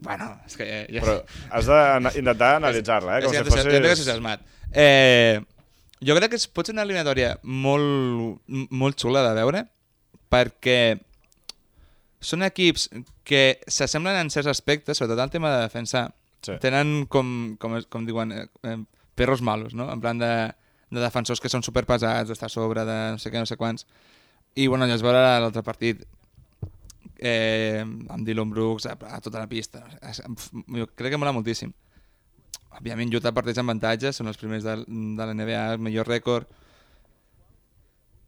[SPEAKER 3] Bueno, és que... eh, Ja...
[SPEAKER 2] Però has d'intentar analitzar-la, eh?
[SPEAKER 3] és
[SPEAKER 2] Com si
[SPEAKER 3] que ja t'he- Ja t'he
[SPEAKER 2] fossis...
[SPEAKER 3] entusiasmat. Eh, jo crec que és, pot ser una eliminatòria molt, m- molt xula de veure, perquè són equips que s'assemblen en certs aspectes, sobretot en el tema de defensa.
[SPEAKER 2] Sí.
[SPEAKER 3] Tenen, com, com, es- com diuen, eh, eh, perros malos, no? En plan de, de defensors que són superpesats, d'estar a sobre, de no sé què, no sé quants. I, bueno, ja es veurà l'altre partit eh, amb Dylan Brooks a, a tota la pista. Es- pf, Jo crec que mola moltíssim. Òbviament, Utah parteix amb avantatges, són els primers de, de la NBA, el millor rècord.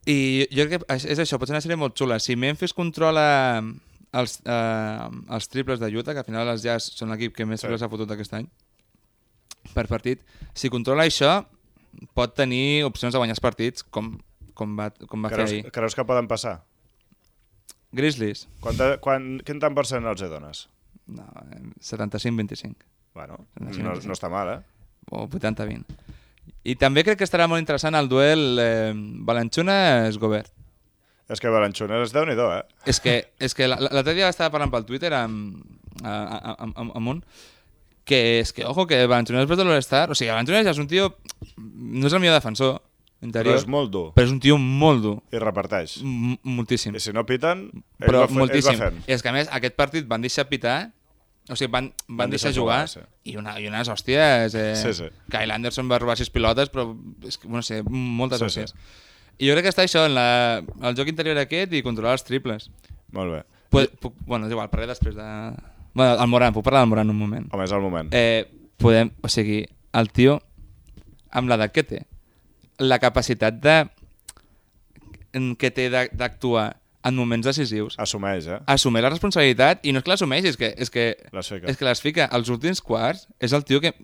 [SPEAKER 3] I jo crec que és- és això, pot ser una sèrie molt xula. Si Memphis controla els, eh, els triples de Utah, que al final els Jazz són l'equip que més
[SPEAKER 2] Sí.
[SPEAKER 3] triples ha fotut aquest any, per partit, si controla això, pot tenir opcions de guanyar els partits, com, com va, com va fer
[SPEAKER 2] Creus,
[SPEAKER 3] ahir.
[SPEAKER 2] creus que poden passar?
[SPEAKER 3] Grizzlies?
[SPEAKER 2] Quanta, quan, quin tant per cent els hi dones?
[SPEAKER 3] No, eh, 75-25.
[SPEAKER 2] Bueno,
[SPEAKER 3] Sí,
[SPEAKER 2] no,
[SPEAKER 3] sí.
[SPEAKER 2] no està mal, eh?
[SPEAKER 3] o 80-20. I també crec que estarà molt interessant el duel eh, Balanchuna-Esgobert.
[SPEAKER 2] És que Balanchunas és déu-n'hi-do, eh?
[SPEAKER 3] És que, és que la- la- l'altre dia estava parlant pel Twitter amb, a- a- a- amb, amb un que és que, ojo, que Balanchuna després de l'All-Star... O sigui, Balanchuna ja és un tio... No és el millor defensor
[SPEAKER 2] Però
[SPEAKER 3] interior,
[SPEAKER 2] és molt dur.
[SPEAKER 3] però és un tio molt dur.
[SPEAKER 2] I reparteix.
[SPEAKER 3] m- Moltíssim.
[SPEAKER 2] I si no piten, ell
[SPEAKER 3] Mm. però
[SPEAKER 2] va, fe-
[SPEAKER 3] moltíssim.
[SPEAKER 2] ell va fent.
[SPEAKER 3] I és que a més, aquest partit van deixar pitar, o sigui, van, van,
[SPEAKER 2] Van
[SPEAKER 3] deixar,
[SPEAKER 2] deixar
[SPEAKER 3] jugar,
[SPEAKER 2] jugar,
[SPEAKER 3] i, una, i unes hòsties... Eh,
[SPEAKER 2] Sí, sí.
[SPEAKER 3] Kyle Anderson va robar sis pilotes, però és que, no sé, moltes
[SPEAKER 2] Sí,
[SPEAKER 3] sí, hòsties. Sí. I jo crec que està això, en la, el joc interior aquest i controlar els triples.
[SPEAKER 2] Molt bé.
[SPEAKER 3] Puc, puc, bueno, és igual, parlaré després de... Bueno, el Moran, puc parlar del Moran un moment.
[SPEAKER 2] Home, és el moment. Eh.
[SPEAKER 3] Eh, podem, o sigui, el tio, amb l'edat que té, la capacitat de, que té de- d'actuar en moments decisius,
[SPEAKER 2] Assumeix, eh?
[SPEAKER 3] assumir la responsabilitat i no és que l'assumeix, és que, és que,
[SPEAKER 2] Les fica.
[SPEAKER 3] és que les fica. Els últims quarts és el tio que...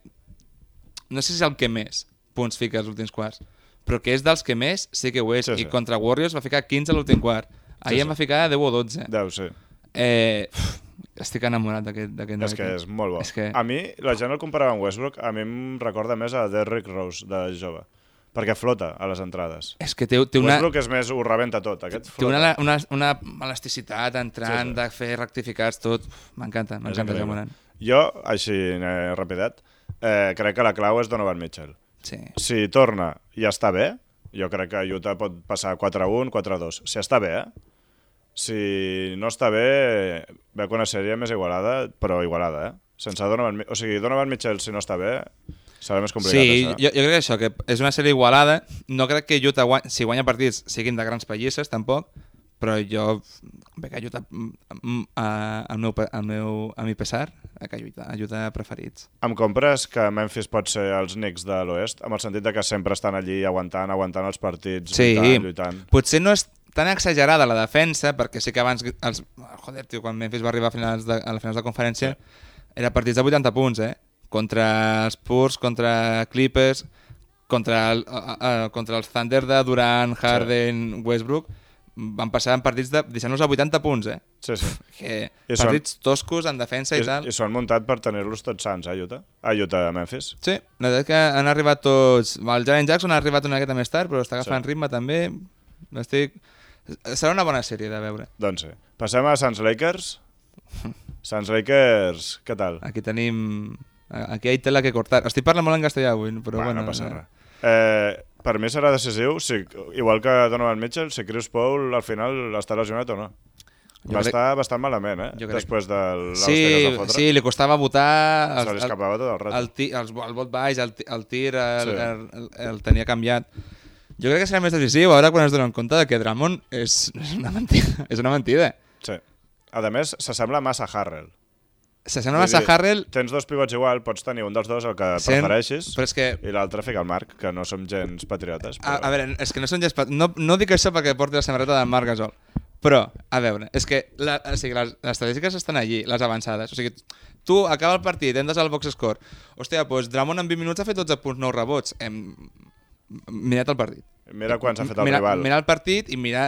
[SPEAKER 3] No sé si és el que més punts fica els últims quarts, però que és dels que més sí que ho és.
[SPEAKER 2] Sí,
[SPEAKER 3] Sí, sí.
[SPEAKER 2] sí.
[SPEAKER 3] I contra Warriors va ficar 15 a l'últim quart. Ahir sí,
[SPEAKER 2] sí.
[SPEAKER 3] em va ficar 10 o 12.
[SPEAKER 2] Deu, sí.
[SPEAKER 3] Eh, uf, estic enamorat d'aquest d'aquest
[SPEAKER 2] És
[SPEAKER 3] noi.
[SPEAKER 2] que és molt bo.
[SPEAKER 3] És que...
[SPEAKER 2] A mi, la gent el comparava amb Westbrook, a mi em recorda més a Derrick Rose, de jove. perquè flota a les entrades.
[SPEAKER 3] És que té, té
[SPEAKER 2] Una...
[SPEAKER 3] una...
[SPEAKER 2] Westbrook és més, ho rebenta tot, aquest
[SPEAKER 3] Té
[SPEAKER 2] flota.
[SPEAKER 3] una, una, una elasticitat entrant,
[SPEAKER 2] Sí,
[SPEAKER 3] sí,
[SPEAKER 2] sí.
[SPEAKER 3] sí. de fer rectificats, tot. Uf, M'encanta,
[SPEAKER 2] És
[SPEAKER 3] m'encanta
[SPEAKER 2] increïble.
[SPEAKER 3] John Moran.
[SPEAKER 2] Jo, així, eh, rapidat, eh, crec que la clau és Donovan Mitchell.
[SPEAKER 3] Sí.
[SPEAKER 2] Si torna i està bé, jo crec que Utah pot passar 4-1, 4-2. Si està bé, eh? Si no està bé, veig una sèrie més igualada, però igualada, eh? Sense Donovan... Mi- O sigui, Donovan Mitchell, si no està bé, serà més complicat,
[SPEAKER 3] Sí,
[SPEAKER 2] això.
[SPEAKER 3] jo, jo crec que això, que és una sèrie igualada. No crec que Utah, guany, si guanya partits, siguin de grans pallisses, tampoc, però jo bé que Utah, mm, mm, a, al meu, pe- al meu, a mi pesar, a que Utah, a Utah preferits.
[SPEAKER 2] Em compres que Memphis pot ser els Knicks de l'oest, amb el sentit de que sempre estan allí aguantant, aguantant els partits,
[SPEAKER 3] Sí,
[SPEAKER 2] lluitant, lluitant.
[SPEAKER 3] potser no és tan exagerada la defensa, perquè sí que abans, els, joder, tio, quan Memphis va arribar a finals de, a les finals de conferència, era partits de 80 punts, eh? Contra els Purs, contra Clippers, contra, el, a, a, a- contra els Thunder de Durant, Harden, Westbrook, van passar en partits de, deixant-nos a 80 punts, eh?
[SPEAKER 2] Sí, sí.
[SPEAKER 3] Que
[SPEAKER 2] I són-
[SPEAKER 3] partits toscos en defensa i,
[SPEAKER 2] I,
[SPEAKER 3] tal.
[SPEAKER 2] I s'ho han muntat per tenir-los tots sants, eh, Utah? A Utah, a Memphis.
[SPEAKER 3] Sí, la veritat que han arribat tots... El Jaren Jackson ha arribat una miqueta més tard, però està agafant
[SPEAKER 2] Sí.
[SPEAKER 3] sí. ritme també. Estic... Serà una bona sèrie de veure.
[SPEAKER 2] Doncs sí. Passem a Suns Lakers. Suns Lakers, què tal?
[SPEAKER 3] Aquí tenim... Aquí hi tela que cortar. Estic parlant molt en castellà avui, però
[SPEAKER 2] Va,
[SPEAKER 3] bueno...
[SPEAKER 2] no passa
[SPEAKER 3] eh,
[SPEAKER 2] res. Eh, per mi serà decisiu, si, igual que Donovan Mitchell, si Chris Paul al final està lesionat o no.
[SPEAKER 3] Jo
[SPEAKER 2] Va
[SPEAKER 3] crec-
[SPEAKER 2] estar bastant malament, eh?
[SPEAKER 3] Jo crec-
[SPEAKER 2] Després de l'Hoste que
[SPEAKER 3] Sí,
[SPEAKER 2] es va fotre.
[SPEAKER 3] sí, li costava votar...
[SPEAKER 2] Se li escapava tot el rato.
[SPEAKER 3] El, ti, els, el vot baix, el, ti- el tir, el,
[SPEAKER 2] Sí.
[SPEAKER 3] sí. el, el, el, tenia canviat. Jo crec que serà més decisiu ara quan es donen compte de que Drummond és, és una mentida. És una mentida.
[SPEAKER 2] sí. A més, s'assembla massa a Harrell.
[SPEAKER 3] S'assembla
[SPEAKER 2] Vull
[SPEAKER 3] massa
[SPEAKER 2] dir,
[SPEAKER 3] a Harrell
[SPEAKER 2] Tens dos pivots igual, pots tenir un dels dos, el que
[SPEAKER 3] Sent-
[SPEAKER 2] prefereixis,
[SPEAKER 3] però és que-
[SPEAKER 2] i l'altre fica el Marc, que no som gens patriotes.
[SPEAKER 3] A,
[SPEAKER 2] Però...
[SPEAKER 3] a veure, és que no són gespat... No, no dic això perquè porti la samarreta de Marc Gasol, però, a veure, és que la, o sigui, les, les estadístiques estan allí, les avançades. O sigui, tu acaba el partit, entres al box score, hòstia, doncs Dramon en 20 minuts ha fet 12 punts, 9 rebots. Hem mirat el partit.
[SPEAKER 2] Mira quan s'ha fet el
[SPEAKER 3] mira,
[SPEAKER 2] rival.
[SPEAKER 3] Mira el partit i mira,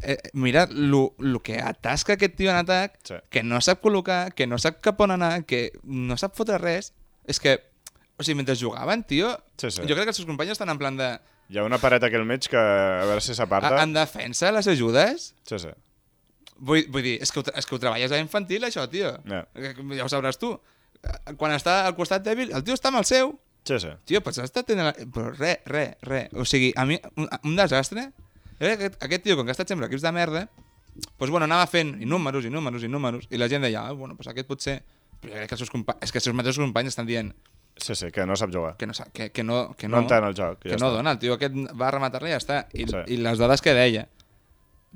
[SPEAKER 3] eh, mira lo, lo que atasca aquest tio en atac,
[SPEAKER 2] Sí.
[SPEAKER 3] que no sap col·locar, que no sap cap on anar, que no sap fotre res. És que, o sigui, mentre jugaven, tio,
[SPEAKER 2] Sí, sí.
[SPEAKER 3] jo crec que els seus companys estan en plan de...
[SPEAKER 2] Hi ha una paret aquí al mig que a veure si s'aparta.
[SPEAKER 3] A, en defensa, les ajudes?
[SPEAKER 2] Sí, sí.
[SPEAKER 3] Vull, vull dir, és que, ho, tra- és que ho treballes a infantil, això, tio.
[SPEAKER 2] Ja.
[SPEAKER 3] Eh, Ja ho sabràs tu. Eh, Quan està al costat dèbil, el tio està amb el seu.
[SPEAKER 2] Sí, sí.
[SPEAKER 3] Tio, pots estar tenint... La... Però re, re, re. O sigui, a mi, un, un desastre. Jo crec que Aquest, aquest tio, com que ha estat sempre a equips de merda, doncs bueno, anava fent i números, i números, i números, i la gent deia, ah, bueno, doncs aquest potser... Però jo crec que els seus companys, és que els seus mateixos companys estan dient
[SPEAKER 2] Sí, sí, que no sap jugar.
[SPEAKER 3] que no, sa- que, que no, que
[SPEAKER 2] No
[SPEAKER 3] no,
[SPEAKER 2] entén el joc, ja
[SPEAKER 3] que no
[SPEAKER 2] està.
[SPEAKER 3] dona. El tio aquest va rematar-la i ja està. I,
[SPEAKER 2] Sí.
[SPEAKER 3] sí. I les dades que deia,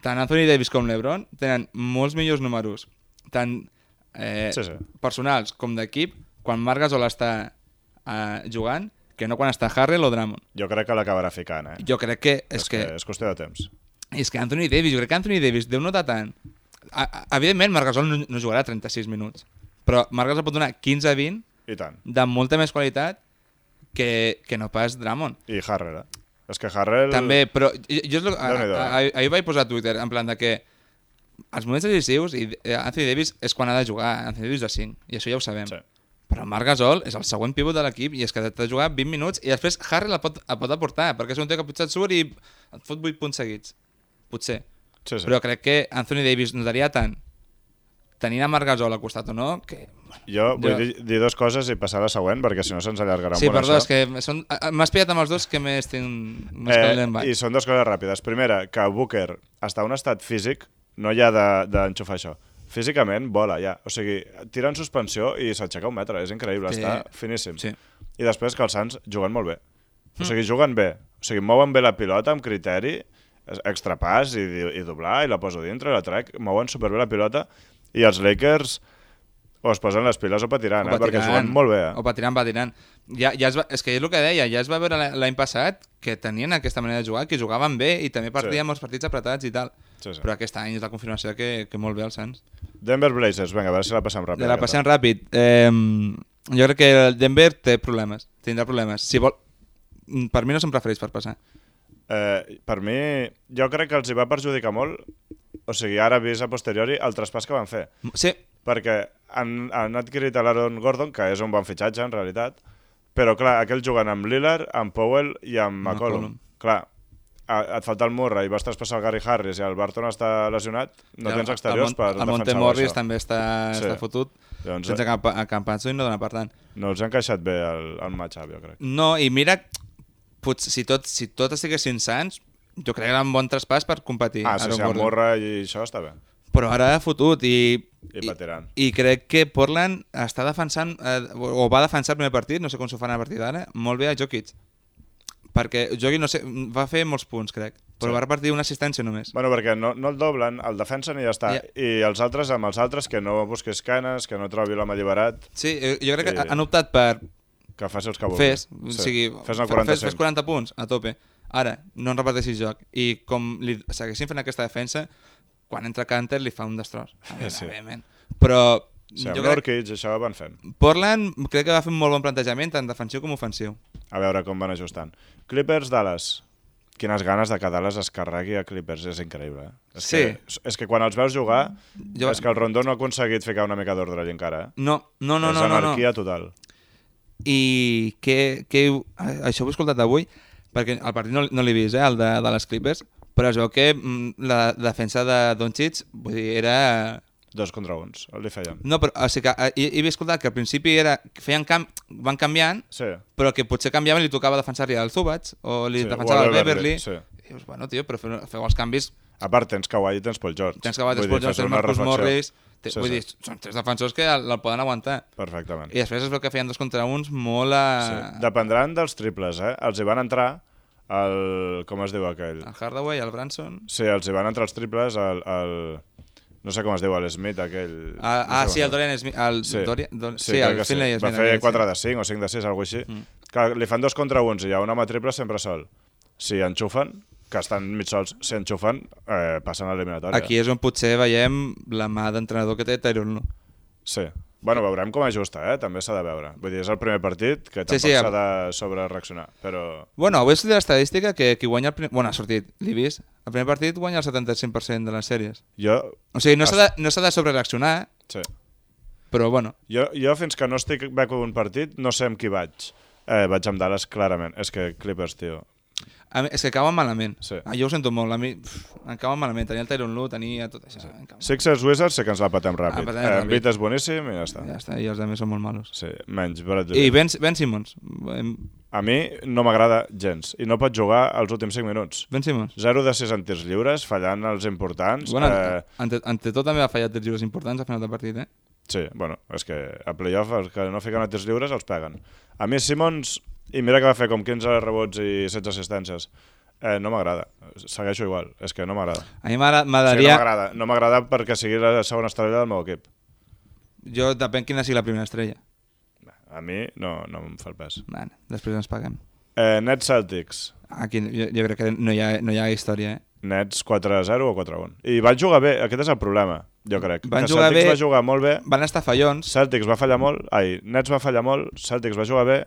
[SPEAKER 3] tant Anthony Davis com LeBron tenen molts millors números, tant eh,
[SPEAKER 2] Sí, sí.
[SPEAKER 3] personals com d'equip, quan Marc Gasol està eh, jugant, que no quan està Harrell o Drummond.
[SPEAKER 2] Jo crec que l'acabarà ficant, eh?
[SPEAKER 3] Jo crec que és, que,
[SPEAKER 2] És qüestió de temps.
[SPEAKER 3] és que Anthony Davis, jo crec que Anthony Davis deu notar tant. A, a, evidentment, Marc Gasol no, no jugarà 36 minuts, però Marc Gasol pot donar 15-20
[SPEAKER 2] I tant.
[SPEAKER 3] de molta més qualitat que, que no pas Drummond.
[SPEAKER 2] I Harrell, eh? És que Harrell...
[SPEAKER 3] També, però jo, jo és lo, a,
[SPEAKER 2] Déu-n'hi-do,
[SPEAKER 3] a,
[SPEAKER 2] eh?
[SPEAKER 3] a, ahir vaig posar a Twitter en plan de que els moments decisius i eh, Anthony Davis és quan ha de jugar, Anthony Davis de 5, i això ja ho sabem.
[SPEAKER 2] Sí.
[SPEAKER 3] Sí. Però Marc Gasol és el següent pivot de l'equip i és que t'ha de jugar 20 minuts i després Harry la pot, la pot aportar, perquè és un tio que potser et surt i et fot 8 punts seguits. Potser.
[SPEAKER 2] Sí, sí.
[SPEAKER 3] Però crec que Anthony Davis notaria tant tenint a Marc Gasol al costat o no, que...
[SPEAKER 2] Jo vull
[SPEAKER 3] Jo-
[SPEAKER 2] dir, dir dues coses i passar a la següent, perquè si no se'ns allargarà
[SPEAKER 3] Sí,
[SPEAKER 2] un bon
[SPEAKER 3] perdó, és
[SPEAKER 2] això.
[SPEAKER 3] que són... a- a- m'has pillat amb els dos que més tinc... Més
[SPEAKER 2] Eh, I són dues coses ràpides. Primera, que Booker està en un estat físic, no hi ha de- d'enxufar això. Físicament vola, ja. O sigui, tira en suspensió i s'aixeca un metre. És increïble,
[SPEAKER 3] Sí.
[SPEAKER 2] està finíssim.
[SPEAKER 3] Sí. Mm.
[SPEAKER 2] I després que els Sants juguen molt bé. O sigui, juguen bé. O sigui, mouen bé la pilota amb criteri, es- extrapàs i, i doblar, i la poso dintre, la trec, mouen superbé la pilota i els Lakers o es posen les piles o patiran, eh?
[SPEAKER 3] O
[SPEAKER 2] perquè
[SPEAKER 3] patirant,
[SPEAKER 2] juguen molt bé.
[SPEAKER 3] O
[SPEAKER 2] Eh?
[SPEAKER 3] patirant, patirant. Ja, ja es va, és que és el que deia, ja es va veure la- l'any passat que tenien aquesta manera de jugar, que jugaven bé i també partien
[SPEAKER 2] Sí.
[SPEAKER 3] sí. molts partits apretats i tal.
[SPEAKER 2] Sí, sí.
[SPEAKER 3] Però aquest any és la confirmació que, que molt bé els Sants.
[SPEAKER 2] Denver Blazers, vinga, a veure si la passem ràpid.
[SPEAKER 3] De la
[SPEAKER 2] aquesta.
[SPEAKER 3] passem ràpid. Eh, jo crec que el Denver té problemes, tindrà problemes. Si vol, Mm, per mi no són preferits per passar.
[SPEAKER 2] Eh, per mi, jo crec que els hi va perjudicar molt, o sigui, ara vist a posteriori, el traspàs que van fer.
[SPEAKER 3] Sí,
[SPEAKER 2] Perquè han, han adquirit a l'Aaron Gordon, que és un bon fitxatge, en realitat, Però, clar, aquell jugant amb Lillard, amb Powell i amb McCollum.
[SPEAKER 3] McCollum.
[SPEAKER 2] Clar, a, et falta el Murray, vas traspassar el Gary Harris i el Barton està lesionat, no
[SPEAKER 3] I el-
[SPEAKER 2] tens exteriors
[SPEAKER 3] el, Mont-
[SPEAKER 2] per
[SPEAKER 3] El
[SPEAKER 2] defensar
[SPEAKER 3] Monte Morris
[SPEAKER 2] això.
[SPEAKER 3] també està,
[SPEAKER 2] Sí. Doncs, eh,
[SPEAKER 3] està fotut.
[SPEAKER 2] Llavors,
[SPEAKER 3] sense cap a Campazzo i no dona per tant.
[SPEAKER 2] No els ha encaixat bé el, el matchup, jo crec.
[SPEAKER 3] No, i mira, potser, si, tot, si tot estiguessin sants, jo crec que era un bon traspàs per competir.
[SPEAKER 2] Ah, sí,
[SPEAKER 3] Aaron
[SPEAKER 2] sí, amb
[SPEAKER 3] Gordon.
[SPEAKER 2] Murray i això està bé.
[SPEAKER 3] Però ara ha fotut i...
[SPEAKER 2] I patiran.
[SPEAKER 3] I, crec que Portland està defensant, eh, o va defensar el primer partit, no sé com s'ho fan a partir d'ara, molt bé a Jokic. Perquè Jokic, no sé, va fer molts punts, crec,
[SPEAKER 2] Sí.
[SPEAKER 3] però sí. va repartir una assistència només.
[SPEAKER 2] Bueno, perquè no, no el doblen, el defensen i ja està.
[SPEAKER 3] Ja.
[SPEAKER 2] I els altres, amb els altres, que no busquis canes, que no trobi l'home alliberat,
[SPEAKER 3] Sí, eh, jo crec
[SPEAKER 2] Sí.
[SPEAKER 3] que han optat per
[SPEAKER 2] que faci els que vulgui.
[SPEAKER 3] Fes, sí. o sigui,
[SPEAKER 2] fes una
[SPEAKER 3] fe-
[SPEAKER 2] 40
[SPEAKER 3] fes, fes 40 punts, a tope. Ara, no en reparteixis joc. I com li segueixin fent aquesta defensa, quan entra Canter li fa un destròs. A veure,
[SPEAKER 2] Sí.
[SPEAKER 3] sí. Però
[SPEAKER 2] Sí,
[SPEAKER 3] jo
[SPEAKER 2] amb
[SPEAKER 3] crec que
[SPEAKER 2] l'Orkids això van fent.
[SPEAKER 3] Portland crec que va fer un molt bon plantejament, tant defensiu com ofensiu.
[SPEAKER 2] A veure com van ajustant. Clippers, Dallas. Quines ganes de que Dallas es carregui a Clippers, és increïble. eh? És
[SPEAKER 3] Sí.
[SPEAKER 2] Que, és que quan els veus jugar,
[SPEAKER 3] Jo-
[SPEAKER 2] és que el Rondó no ha aconseguit ficar una mica d'ordre allà encara. eh?
[SPEAKER 3] No, no, no,
[SPEAKER 2] és
[SPEAKER 3] no, no,
[SPEAKER 2] anarquia
[SPEAKER 3] no.
[SPEAKER 2] total.
[SPEAKER 3] I que, que, això ho he escoltat avui, perquè el partit no, no l'he vist, eh, el de, de les Clippers, però es veu que mm, la defensa de Doncic vull dir, era
[SPEAKER 2] Dos contra uns, el li feien.
[SPEAKER 3] No, però o sigui que, eh, he, he escoltat que al principi era, que feien cam van canviant,
[SPEAKER 2] Sí.
[SPEAKER 3] però que potser canviaven i li tocava defensar-li al Zubats o li
[SPEAKER 2] Sí,
[SPEAKER 3] sí,
[SPEAKER 2] o
[SPEAKER 3] defensava
[SPEAKER 2] al
[SPEAKER 3] al Beverly.
[SPEAKER 2] Beverly, sí.
[SPEAKER 3] I dius, bueno, tio, però feu, feu els canvis,
[SPEAKER 2] A part, tens Kawhi i tens Paul George.
[SPEAKER 3] tens que batres
[SPEAKER 2] Vull dir,
[SPEAKER 3] Paul George,
[SPEAKER 2] fas
[SPEAKER 3] tens
[SPEAKER 2] una
[SPEAKER 3] Marcus
[SPEAKER 2] reflexió.
[SPEAKER 3] Morris... Té,
[SPEAKER 2] Sí,
[SPEAKER 3] sí, vull
[SPEAKER 2] sí.
[SPEAKER 3] dir, són tres defensors que el, el poden aguantar.
[SPEAKER 2] Perfectament.
[SPEAKER 3] I eh, després es veu que feien dos contra uns molt a...
[SPEAKER 2] Sí.
[SPEAKER 3] De...
[SPEAKER 2] Dependran dels triples, eh? Els hi van entrar el... com es diu aquell?
[SPEAKER 3] El Hardaway, el Branson...
[SPEAKER 2] Sí, els hi van entrar els triples el... el... no sé com es diu, l'Smith aquell...
[SPEAKER 3] Ah,
[SPEAKER 2] no
[SPEAKER 3] ah
[SPEAKER 2] sé com es
[SPEAKER 3] sí, el
[SPEAKER 2] diu.
[SPEAKER 3] Dorian Smith... El sí. Dorian, Dor sí,
[SPEAKER 2] crec
[SPEAKER 3] el
[SPEAKER 2] que
[SPEAKER 3] Finlay Smith.
[SPEAKER 2] Va fer
[SPEAKER 3] aquest,
[SPEAKER 2] 4
[SPEAKER 3] sí. Mm.
[SPEAKER 2] de 5 o 5 de 6, alguna cosa així. Clar, li fan dos contra uns i hi ha un home triple sempre sol. Si enxufen, que estan mig sols, si enxufen, eh, passen a l'eliminatòria.
[SPEAKER 3] Aquí és on potser veiem la mà d'entrenador que té Tyrone. Lue.
[SPEAKER 2] Sí. Bueno, veurem com ajusta, eh? també s'ha de veure. Vull dir, és el primer partit, que tampoc s'ha
[SPEAKER 3] sí,
[SPEAKER 2] de sobrereaccionar, però...
[SPEAKER 3] Bueno, avui he sortit l'estadística que qui guanya... El primer... Bueno, ha sortit, l'he vist. El primer partit guanya el 75% de les sèries.
[SPEAKER 2] Jo,
[SPEAKER 3] O sigui, no s'ha de, no s'ha de sobrereaccionar,
[SPEAKER 2] sí.
[SPEAKER 3] però bueno.
[SPEAKER 2] Jo, jo fins que no estic veig un partit, no sé amb qui vaig. Eh, vaig amb Dallas, clarament. És que Clippers, tio.
[SPEAKER 3] A mi, és que acaben malament.
[SPEAKER 2] Sí.
[SPEAKER 3] Ah, jo ho sento molt. A mi pff, em acaben malament. Tenia el Tyron Lue, tenia tot això. Em cauen-
[SPEAKER 2] Sixers Wizards sé que ens la patem ràpid. Ah,
[SPEAKER 3] Ah, patem
[SPEAKER 2] eh,
[SPEAKER 3] ràpid.
[SPEAKER 2] Embiid és boníssim i ja està.
[SPEAKER 3] Ja està, i els altres són molt malos.
[SPEAKER 2] Sí, menys Bradley.
[SPEAKER 3] I ben, ben Simmons. Ben,
[SPEAKER 2] A mi no m'agrada gens i no pot jugar els últims 5 minuts.
[SPEAKER 3] ben Simmons.
[SPEAKER 2] 0 de 6 en tirs lliures, fallant els importants.
[SPEAKER 3] Bueno,
[SPEAKER 2] eh,
[SPEAKER 3] ante, ante tot també ha fallat tres lliures importants al final del partit, eh?
[SPEAKER 2] sí, bueno, és que a playoff els que no fiquen a tirs lliures els peguen. A mi Simons, i mira que va fer com 15 rebots i 16 assistències, eh, no m'agrada. Segueixo igual, és que no m'agrada.
[SPEAKER 3] A mi m'agra-
[SPEAKER 2] Sí, no
[SPEAKER 3] m'agradaria...
[SPEAKER 2] m'agrada. No m'agrada perquè sigui la segona estrella del meu equip.
[SPEAKER 3] jo depèn quina sigui la primera estrella.
[SPEAKER 2] A mi no, no em fa el pes.
[SPEAKER 3] Bueno, després ens paguem.
[SPEAKER 2] Eh, Nets Celtics.
[SPEAKER 3] Aquí jo, jo crec que no hi ha, no hi ha història, eh?
[SPEAKER 2] Nets 4-0 o 4-1. I van jugar bé, aquest és el problema, jo crec.
[SPEAKER 3] Van
[SPEAKER 2] que
[SPEAKER 3] jugar
[SPEAKER 2] Celtics
[SPEAKER 3] bé.
[SPEAKER 2] va jugar molt bé,
[SPEAKER 3] Van estar fallons,
[SPEAKER 2] Celtics va fallar molt, ai, Nets va fallar molt, Celtics va jugar bé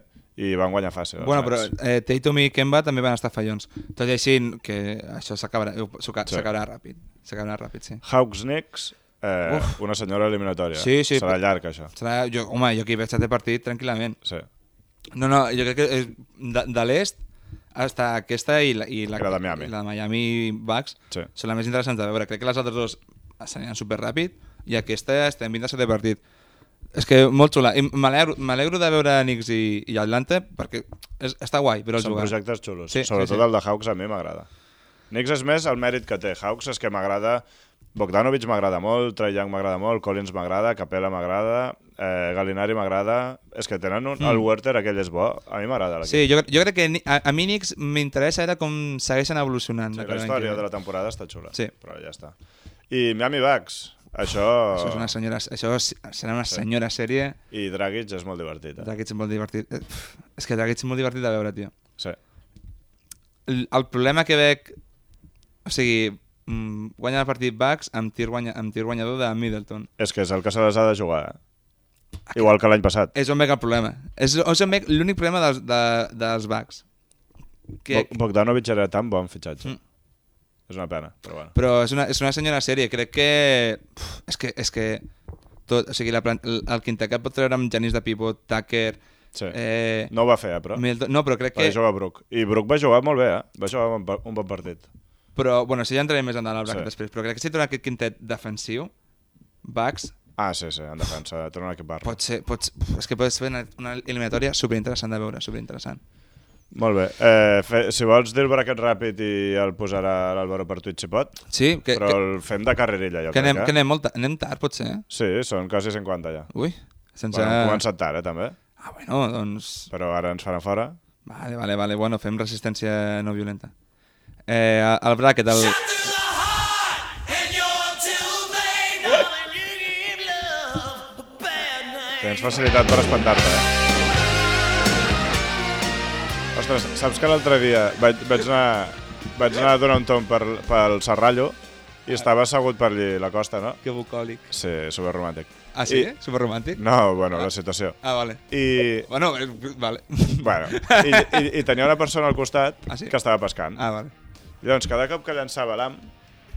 [SPEAKER 2] i van guanyar fàcil. els
[SPEAKER 3] Bueno, però
[SPEAKER 2] Nets.
[SPEAKER 3] eh, Tatum i Kemba també van estar fallons. Tot i així, que això s'acabarà s'aca-
[SPEAKER 2] Sí.
[SPEAKER 3] s'acabarà ràpid. S'acabarà ràpid, sí.
[SPEAKER 2] Hawks Knicks, eh,
[SPEAKER 3] Uf.
[SPEAKER 2] una senyora eliminatòria.
[SPEAKER 3] Sí, sí,
[SPEAKER 2] Serà
[SPEAKER 3] però-
[SPEAKER 2] llarg, això.
[SPEAKER 3] Serà, jo, home, jo aquí veig aquest partit tranquil·lament.
[SPEAKER 2] Sí.
[SPEAKER 3] No, no, jo crec que és de, de l'est hasta aquesta i la, i la,
[SPEAKER 2] I la de Miami.
[SPEAKER 3] i la de Miami Bucks
[SPEAKER 2] Sí.
[SPEAKER 3] són les més interessants de veure. Crec que les altres dues s'aniran superràpid i aquesta estem vint de set de partit. És que molt xula. I m'alegro m'alegro de veure Knicks i, i Atlanta perquè és, està guai veure
[SPEAKER 2] Són
[SPEAKER 3] jugar.
[SPEAKER 2] projectes xulos. Sí,
[SPEAKER 3] Sí,
[SPEAKER 2] Sobretot
[SPEAKER 3] sí,
[SPEAKER 2] sí,
[SPEAKER 3] sí.
[SPEAKER 2] el de Hawks a mi m'agrada. Knicks és més el mèrit que té. Hawks és que m'agrada... Bogdanovic m'agrada molt, Trae Young m'agrada molt, Collins m'agrada, Capella m'agrada, eh, Galinari m'agrada... És que tenen un... Mm. El Werther aquell és bo. A mi m'agrada l'equip.
[SPEAKER 3] Sí, jo, jo crec que ni- a, a mi Knicks m'interessa era com segueixen evolucionant.
[SPEAKER 2] Sí,
[SPEAKER 3] de
[SPEAKER 2] la
[SPEAKER 3] cada any
[SPEAKER 2] història
[SPEAKER 3] que ve.
[SPEAKER 2] de la temporada està xula.
[SPEAKER 3] Sí.
[SPEAKER 2] Però ja està. I Miami Bucks. Això...
[SPEAKER 3] Això, és una senyora, això s- serà una senyora sèrie
[SPEAKER 2] I Dragic és molt divertit. Eh?
[SPEAKER 3] d'aquests molt divertit. Eh, pf, És que d'aquests és molt divertit de veure, tio.
[SPEAKER 2] Sí.
[SPEAKER 3] El, el problema que veig... O sigui, mm, guanya el partit Bucks amb tir, guanya, amb tir guanyador de Middleton.
[SPEAKER 2] És que és el que se les ha de jugar. Eh?
[SPEAKER 3] Ah,
[SPEAKER 2] Igual que l'any passat.
[SPEAKER 3] És on veig el problema. És, és on veig l'únic problema dels, de, dels Bucks. Que,
[SPEAKER 2] Bo- Bogdanovic era tan bon fitxatge.
[SPEAKER 3] Mm.
[SPEAKER 2] És una pena, però bueno.
[SPEAKER 3] Però és una, és una senyora sèrie, crec que... Uf, és que... És que tot, o sigui, la, plan- el el quintet que pot treure amb Janis de Pivot, Tucker,
[SPEAKER 2] Sí.
[SPEAKER 3] Eh,
[SPEAKER 2] No ho va fer, eh, però.
[SPEAKER 3] Middleton- no, però crec
[SPEAKER 2] Va
[SPEAKER 3] que...
[SPEAKER 2] jugar Brook. I Brook va jugar molt bé, eh? Va jugar un, pa- un bon partit.
[SPEAKER 3] Però, bueno, si ja entrarem més endavant al bracket
[SPEAKER 2] Sí.
[SPEAKER 3] sí. després, però crec que si torna aquest quintet defensiu, Bucks,
[SPEAKER 2] Ah, sí, sí, en defensa. Torna a aquest barra.
[SPEAKER 3] pot ser, pot, ser- uf, és que pot ser una, una eliminatòria superinteressant de veure, superinteressant.
[SPEAKER 2] Molt bé. Eh, fe, si vols dir el braquet ràpid i el posarà l'Àlvaro per Twitch, si pot.
[SPEAKER 3] Sí, que,
[SPEAKER 2] Que, però
[SPEAKER 3] que,
[SPEAKER 2] el fem de carrerilla, ja. el
[SPEAKER 3] que, anem,
[SPEAKER 2] crec,
[SPEAKER 3] que
[SPEAKER 2] eh?
[SPEAKER 3] anem, molt, ta- anem tard, potser. eh?
[SPEAKER 2] Sí, són quasi 50 ja.
[SPEAKER 3] Ui, sense...
[SPEAKER 2] Bueno, hem començat tard, eh, també.
[SPEAKER 3] Ah, bueno, doncs...
[SPEAKER 2] Però ara ens faran fora.
[SPEAKER 3] Vale, vale, vale, bueno, fem resistència no violenta. Eh, el bracket, el...
[SPEAKER 2] Tens facilitat per espantar-te, eh? Ostres, saps que l'altre dia vaig, vaig, anar, vaig anar a donar un tomb per, pel Serrallo i estava assegut per allí la costa, no?
[SPEAKER 3] Que bucòlic.
[SPEAKER 2] Sí, superromàntic.
[SPEAKER 3] Ah, sí?
[SPEAKER 2] I,
[SPEAKER 3] Superromàntic?
[SPEAKER 2] no, bueno, la situació.
[SPEAKER 3] Ah, vale.
[SPEAKER 2] I,
[SPEAKER 3] Bueno, eh, vale.
[SPEAKER 2] bueno, i, i, i tenia una persona al costat
[SPEAKER 3] Ah, sí?
[SPEAKER 2] que estava pescant.
[SPEAKER 3] Ah, vale.
[SPEAKER 2] Llavors, cada cop que llançava l'am,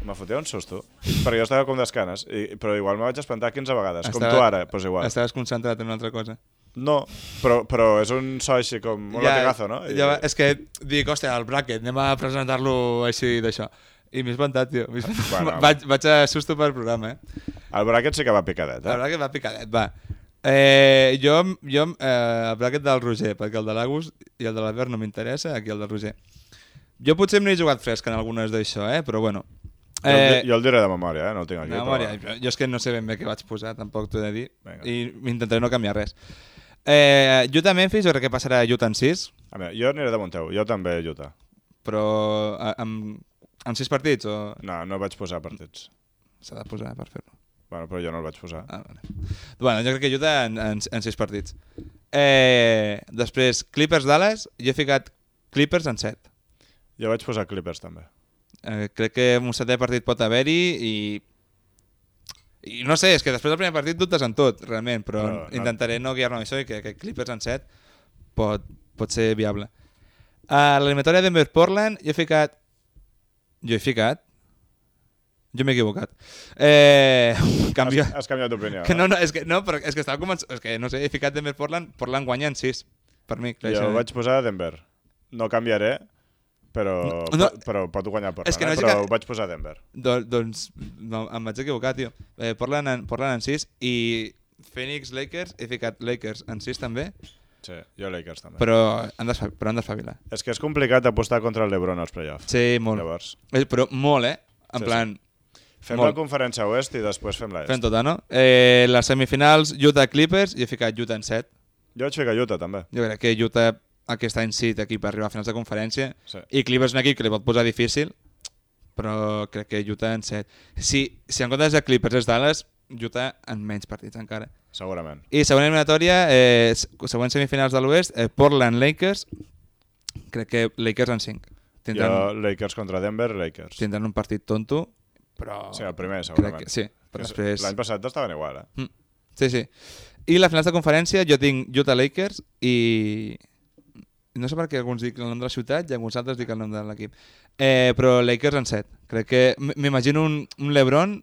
[SPEAKER 2] me fotia un susto, perquè jo estava com d'escanes, i, però igual me vaig espantar 15 vegades, com tu ara, doncs igual.
[SPEAKER 3] Estaves concentrat en una altra cosa.
[SPEAKER 2] No, però, però és un so així com un ja, lategazo, no? I,
[SPEAKER 3] Ja, va- és que dic, hòstia, el bracket, anem a presentar-lo així d'això. I m'he espantat, tio. M'he espantat.
[SPEAKER 2] Bueno.
[SPEAKER 3] Bueno. Vaig, vaig a susto per programa, eh?
[SPEAKER 2] El braquet sí que va picadet,
[SPEAKER 3] El
[SPEAKER 2] eh?
[SPEAKER 3] bracket va picadet, va. Eh, jo, jo eh, el bracket del Roger, perquè el de l'Agus i el de l'Albert no m'interessa, aquí el del Roger. Jo potser m'he jugat fresc en algunes d'això, eh? Però bueno.
[SPEAKER 2] Jo, eh, jo el diré de memòria, eh? No el tinc aquí.
[SPEAKER 3] No, Mòria, jo, jo és que no sé ben bé què vaig posar, tampoc t'ho he de dir,
[SPEAKER 2] Vinga.
[SPEAKER 3] i intentaré no canviar res. Eh, Utah Memphis, jo crec que passarà a Utah en 6,
[SPEAKER 2] Però... A veure, jo aniré damunt teu, jo també, Juta.
[SPEAKER 3] però eh, amb, amb 6 partits o...
[SPEAKER 2] No, no vaig posar partits.
[SPEAKER 3] S'ha de posar per fer-ho.
[SPEAKER 2] Bueno, però jo no el vaig posar.
[SPEAKER 3] Ah, vale. Bueno, jo crec que Utah en, en, en 6 partits. Eh, després, Clippers-Dallas, jo he ficat Clippers en 7.
[SPEAKER 2] Jo vaig posar Clippers, també.
[SPEAKER 3] Eh, crec que un setè partit pot haver-hi i... I no sé, és que després del primer partit dubtes en tot, realment, però
[SPEAKER 2] No,
[SPEAKER 3] no,
[SPEAKER 2] no.
[SPEAKER 3] intentaré no guiar-me amb això i que, que Clippers en set pot, pot ser viable. A l'eliminatòria de Denver-Portland jo he ficat... Jo he ficat... Jo m'he equivocat. Eh, canvio...
[SPEAKER 2] Has, has canviat eh? d'opinió.
[SPEAKER 3] Que no, no, és que, no, però és que estava començant... És que no sé, he ficat Denver-Portland, Portland guanya en 6. Per mi, clar,
[SPEAKER 2] Jo
[SPEAKER 3] això- eh.
[SPEAKER 2] vaig posar Denver. No canviaré, però,
[SPEAKER 3] No, no.
[SPEAKER 2] no, però pot guanyar Portland,
[SPEAKER 3] És que no
[SPEAKER 2] eh?
[SPEAKER 3] és
[SPEAKER 2] però
[SPEAKER 3] que-
[SPEAKER 2] ho vaig posar Denver.
[SPEAKER 3] Do, doncs no, em vaig equivocar, tio. Eh, Portland, en, Portland en 6 i Phoenix Lakers, he ficat Lakers en 6 també,
[SPEAKER 2] Sí, jo Lakers també.
[SPEAKER 3] però han d'esfa- però han d'espavilar.
[SPEAKER 2] És que és complicat apostar contra el LeBron als playoffs.
[SPEAKER 3] Sí, molt.
[SPEAKER 2] Llavors,
[SPEAKER 3] Eh, però molt, eh? En
[SPEAKER 2] Sí,
[SPEAKER 3] sí, plan,
[SPEAKER 2] fem
[SPEAKER 3] Molt.
[SPEAKER 2] la conferència oest i després fem la est.
[SPEAKER 3] fem tota, no? Eh, les semifinals, Utah Clippers, i he ficat Utah en 7.
[SPEAKER 2] Jo vaig ficar Utah, també.
[SPEAKER 3] Jo crec que Utah aquest any sí té equip per arribar a finals de conferència
[SPEAKER 2] Sí.
[SPEAKER 3] i Clippers és un equip que li pot posar difícil però crec que Utah en 7 si, si en comptes de Clippers és Dallas Utah en menys partits encara
[SPEAKER 2] Segurament.
[SPEAKER 3] I següent eliminatòria, eh, s- següents semifinals de l'Oest, eh, Portland Lakers, crec que Lakers en 5. Tindran,
[SPEAKER 2] Jo, Lakers contra Denver, Lakers.
[SPEAKER 3] tindran un partit tonto, però...
[SPEAKER 2] Sí, el primer,
[SPEAKER 3] crec
[SPEAKER 2] segurament.
[SPEAKER 3] que, sí, però
[SPEAKER 2] Que és-
[SPEAKER 3] després...
[SPEAKER 2] L'any passat estaven igual, eh?
[SPEAKER 3] Mm, sí, sí. I les finals de conferència jo tinc Utah Lakers i... No sé per què alguns dic el nom de la ciutat i alguns altres dic el nom de l'equip. Eh, però Lakers en 7. Crec que m- m'imagino un, un LeBron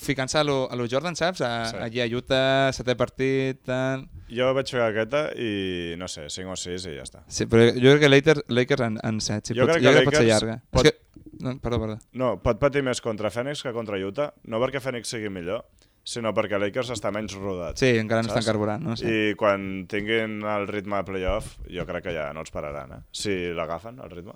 [SPEAKER 3] ficant-se a lo, a lo Jordan, saps? A,
[SPEAKER 2] Sí.
[SPEAKER 3] sí. Allí a Utah, setè partit, tal...
[SPEAKER 2] Jo vaig ficar aquesta i, no sé, 5 o 6 i ja està.
[SPEAKER 3] Sí, però jo crec que Lakers, Lakers en, en set. Sí,
[SPEAKER 2] Jo
[SPEAKER 3] pot,
[SPEAKER 2] crec
[SPEAKER 3] jo
[SPEAKER 2] que
[SPEAKER 3] crec que pot ser
[SPEAKER 2] Lakers
[SPEAKER 3] llarga.
[SPEAKER 2] pot-
[SPEAKER 3] Pot... És que... No, perdó, perdó.
[SPEAKER 2] No, pot patir més contra Phoenix que contra Utah, no perquè Phoenix sigui millor, sinó perquè Lakers està menys rodat.
[SPEAKER 3] Sí, encara no
[SPEAKER 2] Saps?
[SPEAKER 3] estan carburant, no sé.
[SPEAKER 2] I quan tinguin el ritme de playoff, jo crec que ja no els pararan, eh? Si l'agafen, el ritme.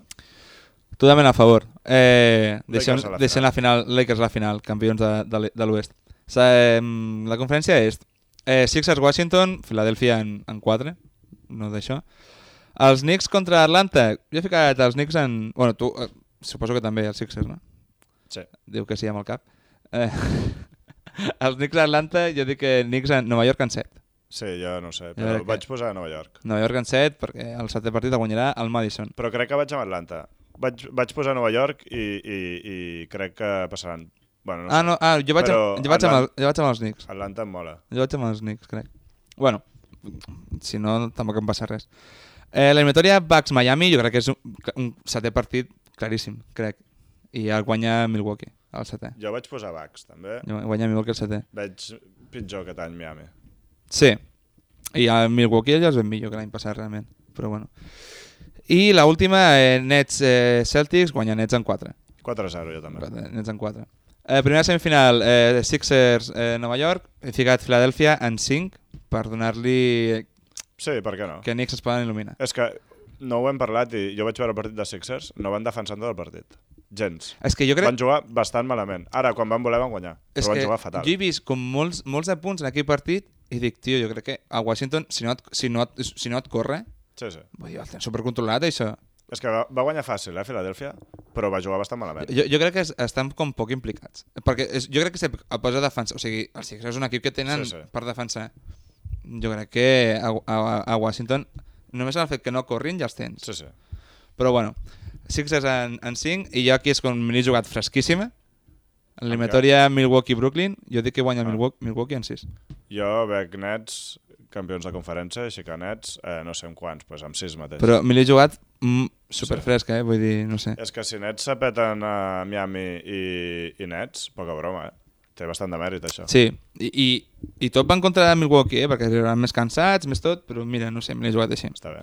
[SPEAKER 3] Totalment a favor. Eh, deixem,
[SPEAKER 2] Lakers a la
[SPEAKER 3] deixem la final, Lakers a la final, campions de, de, l'e- de l'Oest. Sa- eh, La conferència és eh, Sixers Washington, Philadelphia en, en 4, no d'això. Els Knicks contra Atlanta. Jo he ficat els Knicks en... Bueno, tu, eh, suposo que també els Sixers, no?
[SPEAKER 2] Sí.
[SPEAKER 3] Diu que sí amb el cap. Eh, els Knicks a Atlanta, jo dic que Knicks en Nova York en 7.
[SPEAKER 2] Sí, jo no ho sé,
[SPEAKER 3] veure
[SPEAKER 2] però
[SPEAKER 3] què.
[SPEAKER 2] vaig posar a Nova York.
[SPEAKER 3] Nova York en 7, perquè el setè partit el guanyarà el Madison.
[SPEAKER 2] Però crec que vaig amb Atlanta. Vaig, vaig posar Nova York i, i, i crec que passaran... Bueno, no
[SPEAKER 3] Ah,
[SPEAKER 2] sé.
[SPEAKER 3] no, ah, jo vaig,
[SPEAKER 2] Però
[SPEAKER 3] amb, jo, vaig amb el,
[SPEAKER 2] Atlant-
[SPEAKER 3] jo vaig amb els Knicks.
[SPEAKER 2] Atlanta em mola.
[SPEAKER 3] Jo vaig amb els Knicks, crec. Bueno, si no, tampoc em passa res. Eh, L'eliminatòria Bucks-Miami jo crec que és un, un setè partit claríssim, crec. I el guanya Milwaukee, el setè.
[SPEAKER 2] Jo vaig posar Bucks, també.
[SPEAKER 3] Guanya Milwaukee el setè.
[SPEAKER 2] Veig pitjor que any Miami.
[SPEAKER 3] Sí. I a Milwaukee ja els ven millor que l'any passat, realment. Però bueno. I la última, eh, Nets eh, Celtics, guanya Nets en 4.
[SPEAKER 2] 4-0 jo també.
[SPEAKER 3] Nets eh, en 4. Eh, primera semifinal, eh, Sixers, eh, Nova York. He ficat Filadèlfia en 5 per donar-li
[SPEAKER 2] Sí, per què no?
[SPEAKER 3] que Knicks es poden il·luminar.
[SPEAKER 2] És que no ho hem parlat i jo vaig veure el partit de Sixers, no van defensar tot el partit. Gens.
[SPEAKER 3] És que jo crec...
[SPEAKER 2] Van jugar bastant malament. Ara, quan van voler, van guanyar.
[SPEAKER 3] és
[SPEAKER 2] Però van
[SPEAKER 3] que
[SPEAKER 2] jugar fatal.
[SPEAKER 3] Jo he vist com molts, molts de punts en aquell partit i dic, tio, jo crec que a Washington, si no et, si no et, si no et corre,
[SPEAKER 2] Sí, sí.
[SPEAKER 3] vull dir, el tens supercontrolat, això.
[SPEAKER 2] És que va, va guanyar fàcil, eh, Filadèlfia, però va jugar bastant malament.
[SPEAKER 3] Jo, jo crec que es, estan com poc implicats. Perquè és, jo crec que se posa a defensa. O sigui, els Sixers és un equip que tenen
[SPEAKER 2] Sí,
[SPEAKER 3] sí,
[SPEAKER 2] sí.
[SPEAKER 3] sí. per defensar. Jo crec que a, a, a Washington només el fet que no corrin ja els tens.
[SPEAKER 2] Sí, sí.
[SPEAKER 3] Però bueno, Sixers en, en 5 i jo aquí és com me n'he jugat fresquíssima. Eliminatòria Milwaukee-Brooklyn, jo dic que guanya ah. Milwaukee, Milwaukee en 6.
[SPEAKER 2] Jo veig Nets, campions de conferència, així que Nets, eh, no sé en quants, doncs amb sis mateix.
[SPEAKER 3] Però me l'he jugat mm, superfresca, eh? vull dir, no sé.
[SPEAKER 2] És que si Nets s'apeten a Miami i, i Nets, poca broma, eh? Té bastant de mèrit, això.
[SPEAKER 3] Sí, i, i, i tot va en contra de Milwaukee, eh? perquè arribaran més cansats, més tot, però mira, no sé, me l'he jugat així.
[SPEAKER 2] Està bé.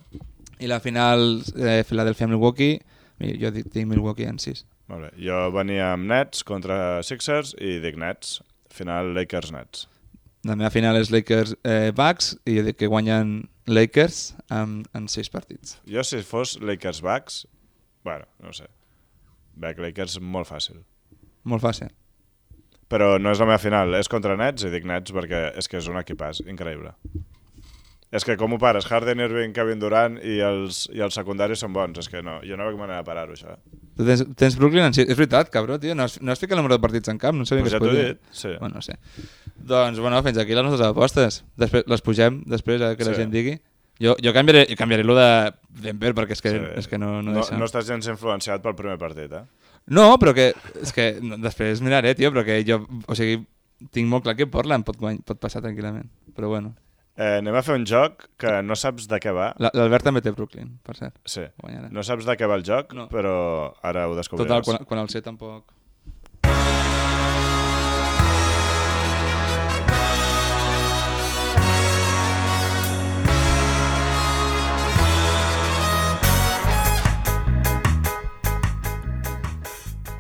[SPEAKER 3] I la final, eh, Philadelphia-Milwaukee, mira, jo dic, tinc Milwaukee en 6.
[SPEAKER 2] Molt bé. Jo venia amb Nets contra Sixers i dic Nets. Final Lakers-Nets.
[SPEAKER 3] La meva final és Lakers-Bucks i jo dic que guanyen Lakers en, en 6 partits.
[SPEAKER 2] Jo, si fos Lakers-Bucks, bueno, no ho sé. Veig Lakers molt fàcil.
[SPEAKER 3] Molt fàcil.
[SPEAKER 2] Però no és la meva final, és contra Nets i dic Nets perquè és que és un equipàs increïble. És que com ho pares? Harden, Irving, Kevin Durant i els, i els secundaris són bons. És que no, jo no veig manera de parar-ho, això.
[SPEAKER 3] Tu tens, tens Brooklyn en 6. És veritat, cabró, tio. No has, no has ficat el número de partits en cap. No sabia
[SPEAKER 2] Pues ja
[SPEAKER 3] que es
[SPEAKER 2] t'ho he
[SPEAKER 3] podia.
[SPEAKER 2] dit. Sí.
[SPEAKER 3] Bueno, no sé. Doncs, bueno, fins aquí les nostres apostes. Després, les pugem després a que la
[SPEAKER 2] Sí.
[SPEAKER 3] gent digui. Jo, jo canviaré, jo canviaré lo de Denver perquè és que,
[SPEAKER 2] Sí.
[SPEAKER 3] sí. és que no, no,
[SPEAKER 2] no,
[SPEAKER 3] deixa.
[SPEAKER 2] no estàs gens influenciat pel primer partit, eh?
[SPEAKER 3] no, però que... És que no, després miraré, tio, però que jo... O sigui, tinc molt clar que Portland pot, guany, pot passar tranquil·lament. Però bueno.
[SPEAKER 2] eh? Anem a fer un joc que no saps de què va.
[SPEAKER 3] La- L'Albert també té Brooklyn, per cert.
[SPEAKER 2] Sí.
[SPEAKER 3] Guanyarà.
[SPEAKER 2] No saps de què va el joc,
[SPEAKER 3] No.
[SPEAKER 2] però ara ho descobriràs.
[SPEAKER 3] Total, quan, quan el sé tampoc...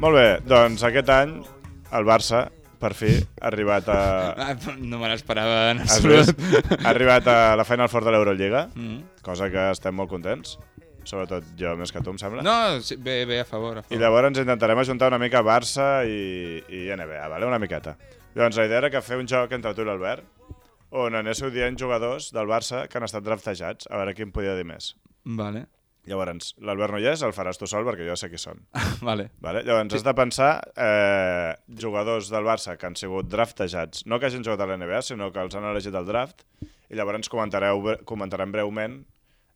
[SPEAKER 2] Molt bé, doncs aquest any el Barça, per fi, ha arribat a...
[SPEAKER 3] Ah, no me l'esperava en
[SPEAKER 2] Has
[SPEAKER 3] absolut.
[SPEAKER 2] vist? ha arribat a la Final Four de l'Eurolliga,
[SPEAKER 3] Mm.
[SPEAKER 2] cosa que estem molt contents, sobretot jo més que tu, em sembla.
[SPEAKER 3] No, sí, bé, bé, a favor. A favor.
[SPEAKER 2] I llavors ens intentarem ajuntar una mica Barça i, i NBA, vale? una miqueta. Doncs la idea era que fer un joc entre tu i l'Albert, on anéssiu dient jugadors del Barça que han estat draftejats, a veure qui em podia dir més.
[SPEAKER 3] Vale,
[SPEAKER 2] Llavors, l'Albert no hi és, el faràs tu sol perquè jo ja sé qui són.
[SPEAKER 3] vale.
[SPEAKER 2] Vale? Llavors has de pensar eh, jugadors del Barça que han sigut draftejats, no que hagin jugat a la NBA, sinó que els han elegit al draft, i llavors comentareu, comentarem breument